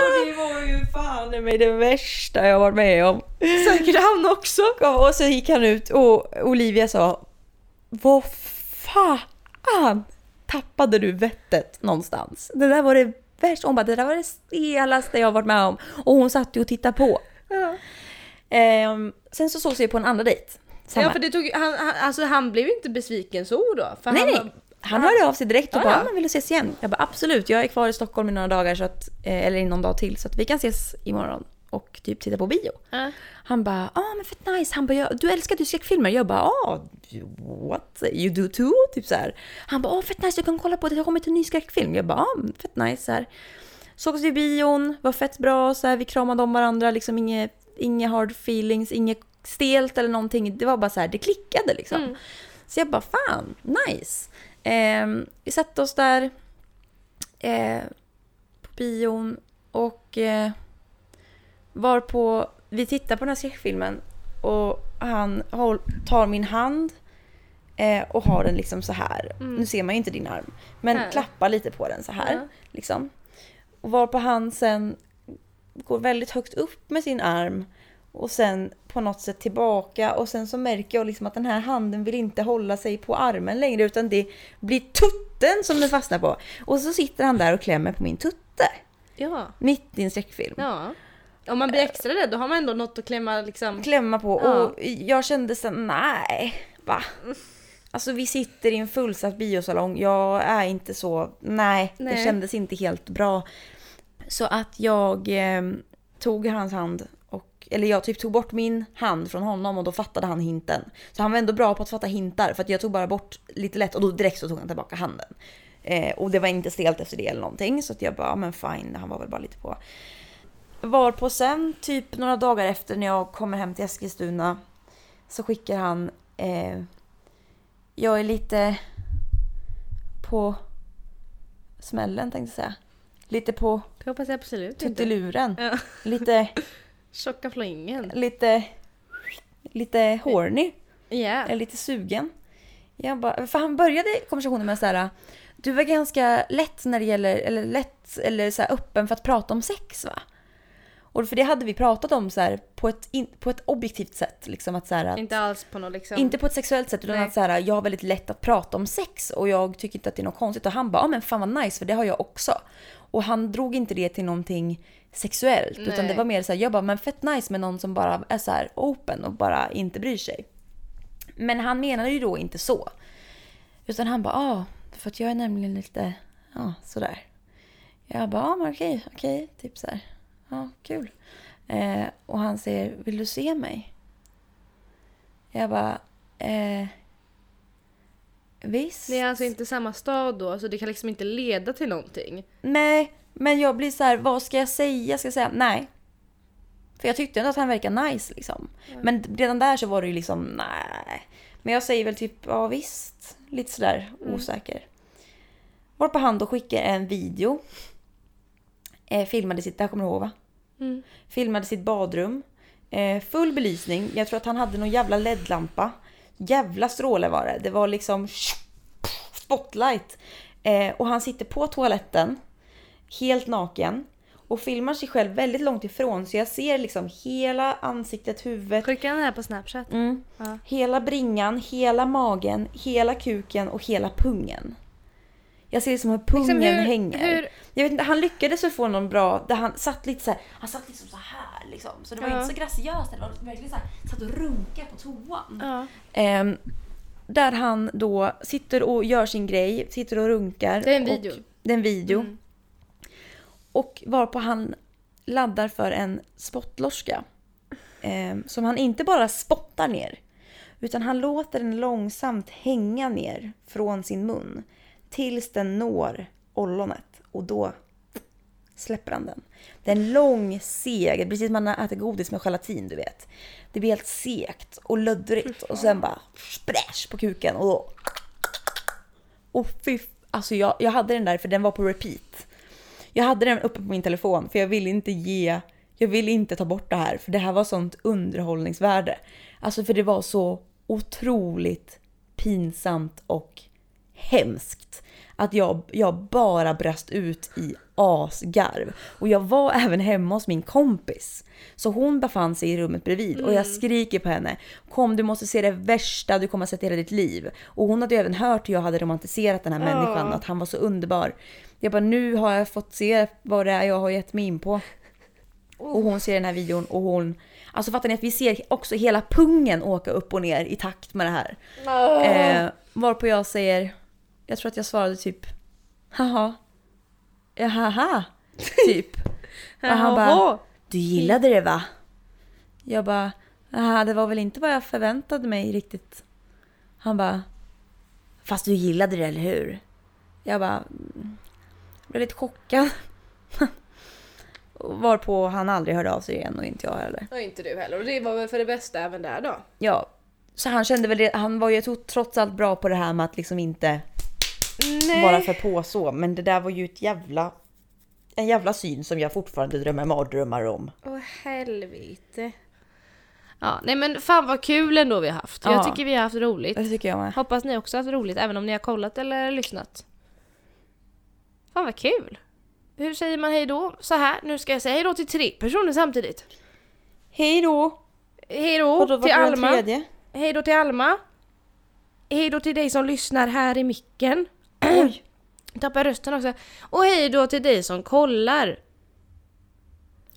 A: Och det var ju fan i mig det värsta jag varit med om.
B: Säkert han också.
A: Och så gick han ut och Olivia sa Vad fan tappade du vettet någonstans? Det där var det värsta. Hon bara, det där var det stelaste jag varit med om. Och hon satt ju och tittade på.
B: Ja,
A: Ehm, sen så sågs vi på en andra dejt. Samma.
B: för det tog, han, han, alltså, han blev ju inte besviken så då. För
A: nej,
B: han
A: nej. Han hörde av sig direkt och
B: Ja,
A: bara,
B: ja.
A: "Ah, men vill du ses igen? Jag bara, absolut, jag är kvar i Stockholm i några dagar, så att, eh, eller i någon dag till, så att vi kan ses imorgon och typ titta på bio.
B: Ja.
A: Han bara, ah men fett nice. Han bara, "Ja, du älskar ju skräckfilmer. Jag bara, ah what? You do too? Typ så här. Han bara, ah fett nice, jag kan kolla på det. Det har kommit en ny skräckfilm. Jag bara, ah men fett nice. Så här. Sågs vi i bion, var fett bra. Så här, vi kramade om varandra, liksom inget, inget hard feelings, inget stelt eller någonting. Det var bara så här, det klickade liksom.
B: Mm.
A: Så jag bara, fan, nice. Ehm, vi satte oss där eh, på bion och eh, var på, vi tittar på den här skräckfilmen och han håll, tar min hand eh, och har den liksom så här.
B: Mm.
A: Nu ser man ju inte din arm, men
B: Här.
A: klappar lite på den så här.
B: Ja.
A: Liksom. Och var på han sen går väldigt högt upp med sin arm och sen på något sätt tillbaka och sen så märker jag liksom att den här handen vill inte hålla sig på armen längre utan det blir tutten som den fastnar på. Och så sitter han där och klämmer på min tutte.
B: Ja.
A: Mitt i en skräckfilm.
B: ja. Om man blir extra rädd då har man ändå något att klämma liksom.
A: Klämma på
B: Ja.
A: och jag kände så här, nej, va? Alltså vi sitter i en fullsatt biosalong, jag är inte så, nej, det
B: Nej.
A: kändes inte helt bra. Så att jag eh, tog hans hand, och, eller jag typ tog bort min hand från honom och då fattade han hinten. Så han var ändå bra på att fatta hintar för att jag tog bara bort lite lätt och då direkt så tog han tillbaka handen. Eh, och det var inte stelt efter det eller någonting så att jag bara, "Ja, men fine, han var väl bara lite på. Var på sen, typ några dagar efter när jag kommer hem till Eskilstuna så skickar han eh, Jag är lite på smällen tänkte jag säga. Lite på
B: Det hoppas jag absolut inte.
A: tutteluren.
B: Ja.
A: Lite,
B: Tjocka flingen.
A: lite, lite horny.
B: Ja.
A: Eller lite sugen. Jag bara, för han började konversationen med så här. Du var ganska lätt när det gäller, eller lätt, eller så här öppen för att prata om sex va? Och för det hade vi pratat om så här på ett, in, på ett objektivt sätt. Liksom att så här, att,
B: Inte alls på något liksom.
A: inte på ett sexuellt sätt utan
B: Nej.
A: att så här, jag har väldigt lätt att prata om sex och jag tycker inte att det är något konstigt. Och han bara, ja men fan vad nice för det har jag också. Och han drog inte det till någonting sexuellt utan
B: Nej.
A: det var mer så här, jag bara, men fett nice med någon som bara är så här open och bara inte bryr sig. Men han menade ju då inte så. Utan han bara, ja, för att jag är nämligen lite, ja, sådär. Jag bara, ja men okej, okej, typ såhär. Ja, kul. Eh, och han säger, vill du se mig? Jag bara, eh, visst.
B: Det är alltså inte samma stad då, så det kan liksom inte leda till någonting.
A: Nej, men jag blir så här, vad ska jag säga? Ska jag säga nej? För jag tyckte ändå att han verkade nice liksom. Men redan där så var det ju liksom nej. Men jag säger väl typ ja visst. Lite sådär osäker. Varpå han då skickar en video. Eh, filmade sitt, det här kommer du ihåg va?
B: Mm.
A: Filmade sitt badrum. Eh, full belysning. Jag tror att han hade någon jävla LED-lampa. Jävla stråle var det. Det var liksom spotlight. Eh, och han sitter på toaletten. Helt naken. Och filmar sig själv väldigt långt ifrån. Så jag ser liksom hela ansiktet, huvudet.
B: Skicka den här på snapchat.
A: Mm.
B: Ja.
A: Hela bringan, hela magen, hela kuken och hela pungen. Jag ser liksom hur pungen
B: Liksom hur-
A: hänger.
B: hur-
A: Jag vet inte, han lyckades väl få någon bra, där han satt lite så här, han satt liksom så här liksom. Så det var
B: Ja.
A: inte så graciöst, det var verkligen så här, satt och runka på toan.
B: Ja.
A: Ehm, där han då sitter och gör sin grej, sitter och runkar.
B: Det är en
A: och-
B: video.
A: Det är en video.
B: Mm.
A: Och varpå han laddar för en spottloska. ehm, som han inte bara spottar ner. Utan han låter den långsamt hänga ner från sin mun. Tills den når ollonet. Och då släpper han den. Det är en lång seg, precis som man äter godis med gelatin du vet. Det blir helt segt och löddrigt och sen bara spräsch på kuken och då... Och fy, f- alltså jag, jag hade den där för den var på repeat. Jag hade den uppe på min telefon för jag ville inte ge, jag ville inte ta bort det här för det här var sånt underhållningsvärde. Alltså för det var så otroligt pinsamt och hemskt. Att jag, jag bara brast ut i asgarv. Och jag var även hemma hos min kompis. Så hon befann sig i rummet bredvid och jag skriker på henne. Kom du måste se det värsta du kommer att se i hela ditt liv. Och hon hade ju även hört hur jag hade romantiserat den här människan, att han var så underbar. Jag bara nu har jag fått se vad det är jag har gett mig in på. Och hon ser den här videon och hon... Alltså fattar ni att vi ser också hela pungen åka upp och ner i takt med det här. Eh, varpå jag säger, jag tror att jag svarade typ haha, ja, haha, typ. Och han bara,
B: Jaha.
A: du gillade det va? Jag bara, "Ah, det var väl inte vad jag förväntade mig riktigt. Han bara, fast du gillade det eller hur? Jag bara, "Mm." blev lite chockad. Och Varpå han aldrig hörde av sig igen och inte jag heller.
B: Och inte du heller. Och det var väl för det bästa även där då.
A: Ja, så han kände väl det, han var ju tro- trots allt bra på det här med att liksom inte
B: Nej.
A: Bara för på så. Men det där var ju ett jävla... En jävla syn som jag fortfarande drömmer mardrömmar om.
B: Åh helvete. Ja, nej men fan vad kul ändå vi har haft. Jag
C: Ja.
B: tycker vi har haft roligt.
C: Det tycker jag med.
B: Hoppas ni också har haft roligt även om ni har kollat eller lyssnat. Fan vad kul. Hur säger man hej då? Så här, nu ska jag säga hej då till tre personer samtidigt.
A: Hej då!
B: Hej då
A: Vadå,
B: till
A: vart var den
B: Alma.
A: tredje?
B: Hej då till Alma. Hej då till dig som lyssnar här i micken.
A: Oj.
B: Tappar rösten också. Och hej då till dig som kollar.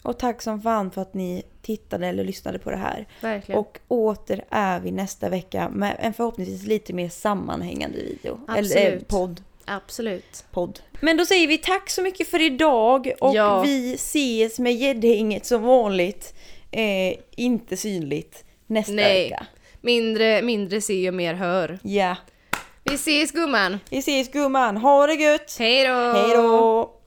A: Och tack som fan för att ni tittade eller lyssnade på det här.
B: Verkligen.
A: Och åter är vi nästa vecka med en förhoppningsvis lite mer sammanhängande video. Eller eh,
B: Absolut.
A: podd.
B: Absolut.
A: podd. Men då säger vi tack så mycket för idag och
B: Ja.
A: vi ses med gäddhänget som vanligt. Eh, inte synligt nästa
B: Nej.
A: vecka.
B: Mindre, mindre se och mer hör.
A: Ja.
B: Vi ses gumman.
A: Vi ses gumman, ha det gött!
B: Hej då!
A: Hej då!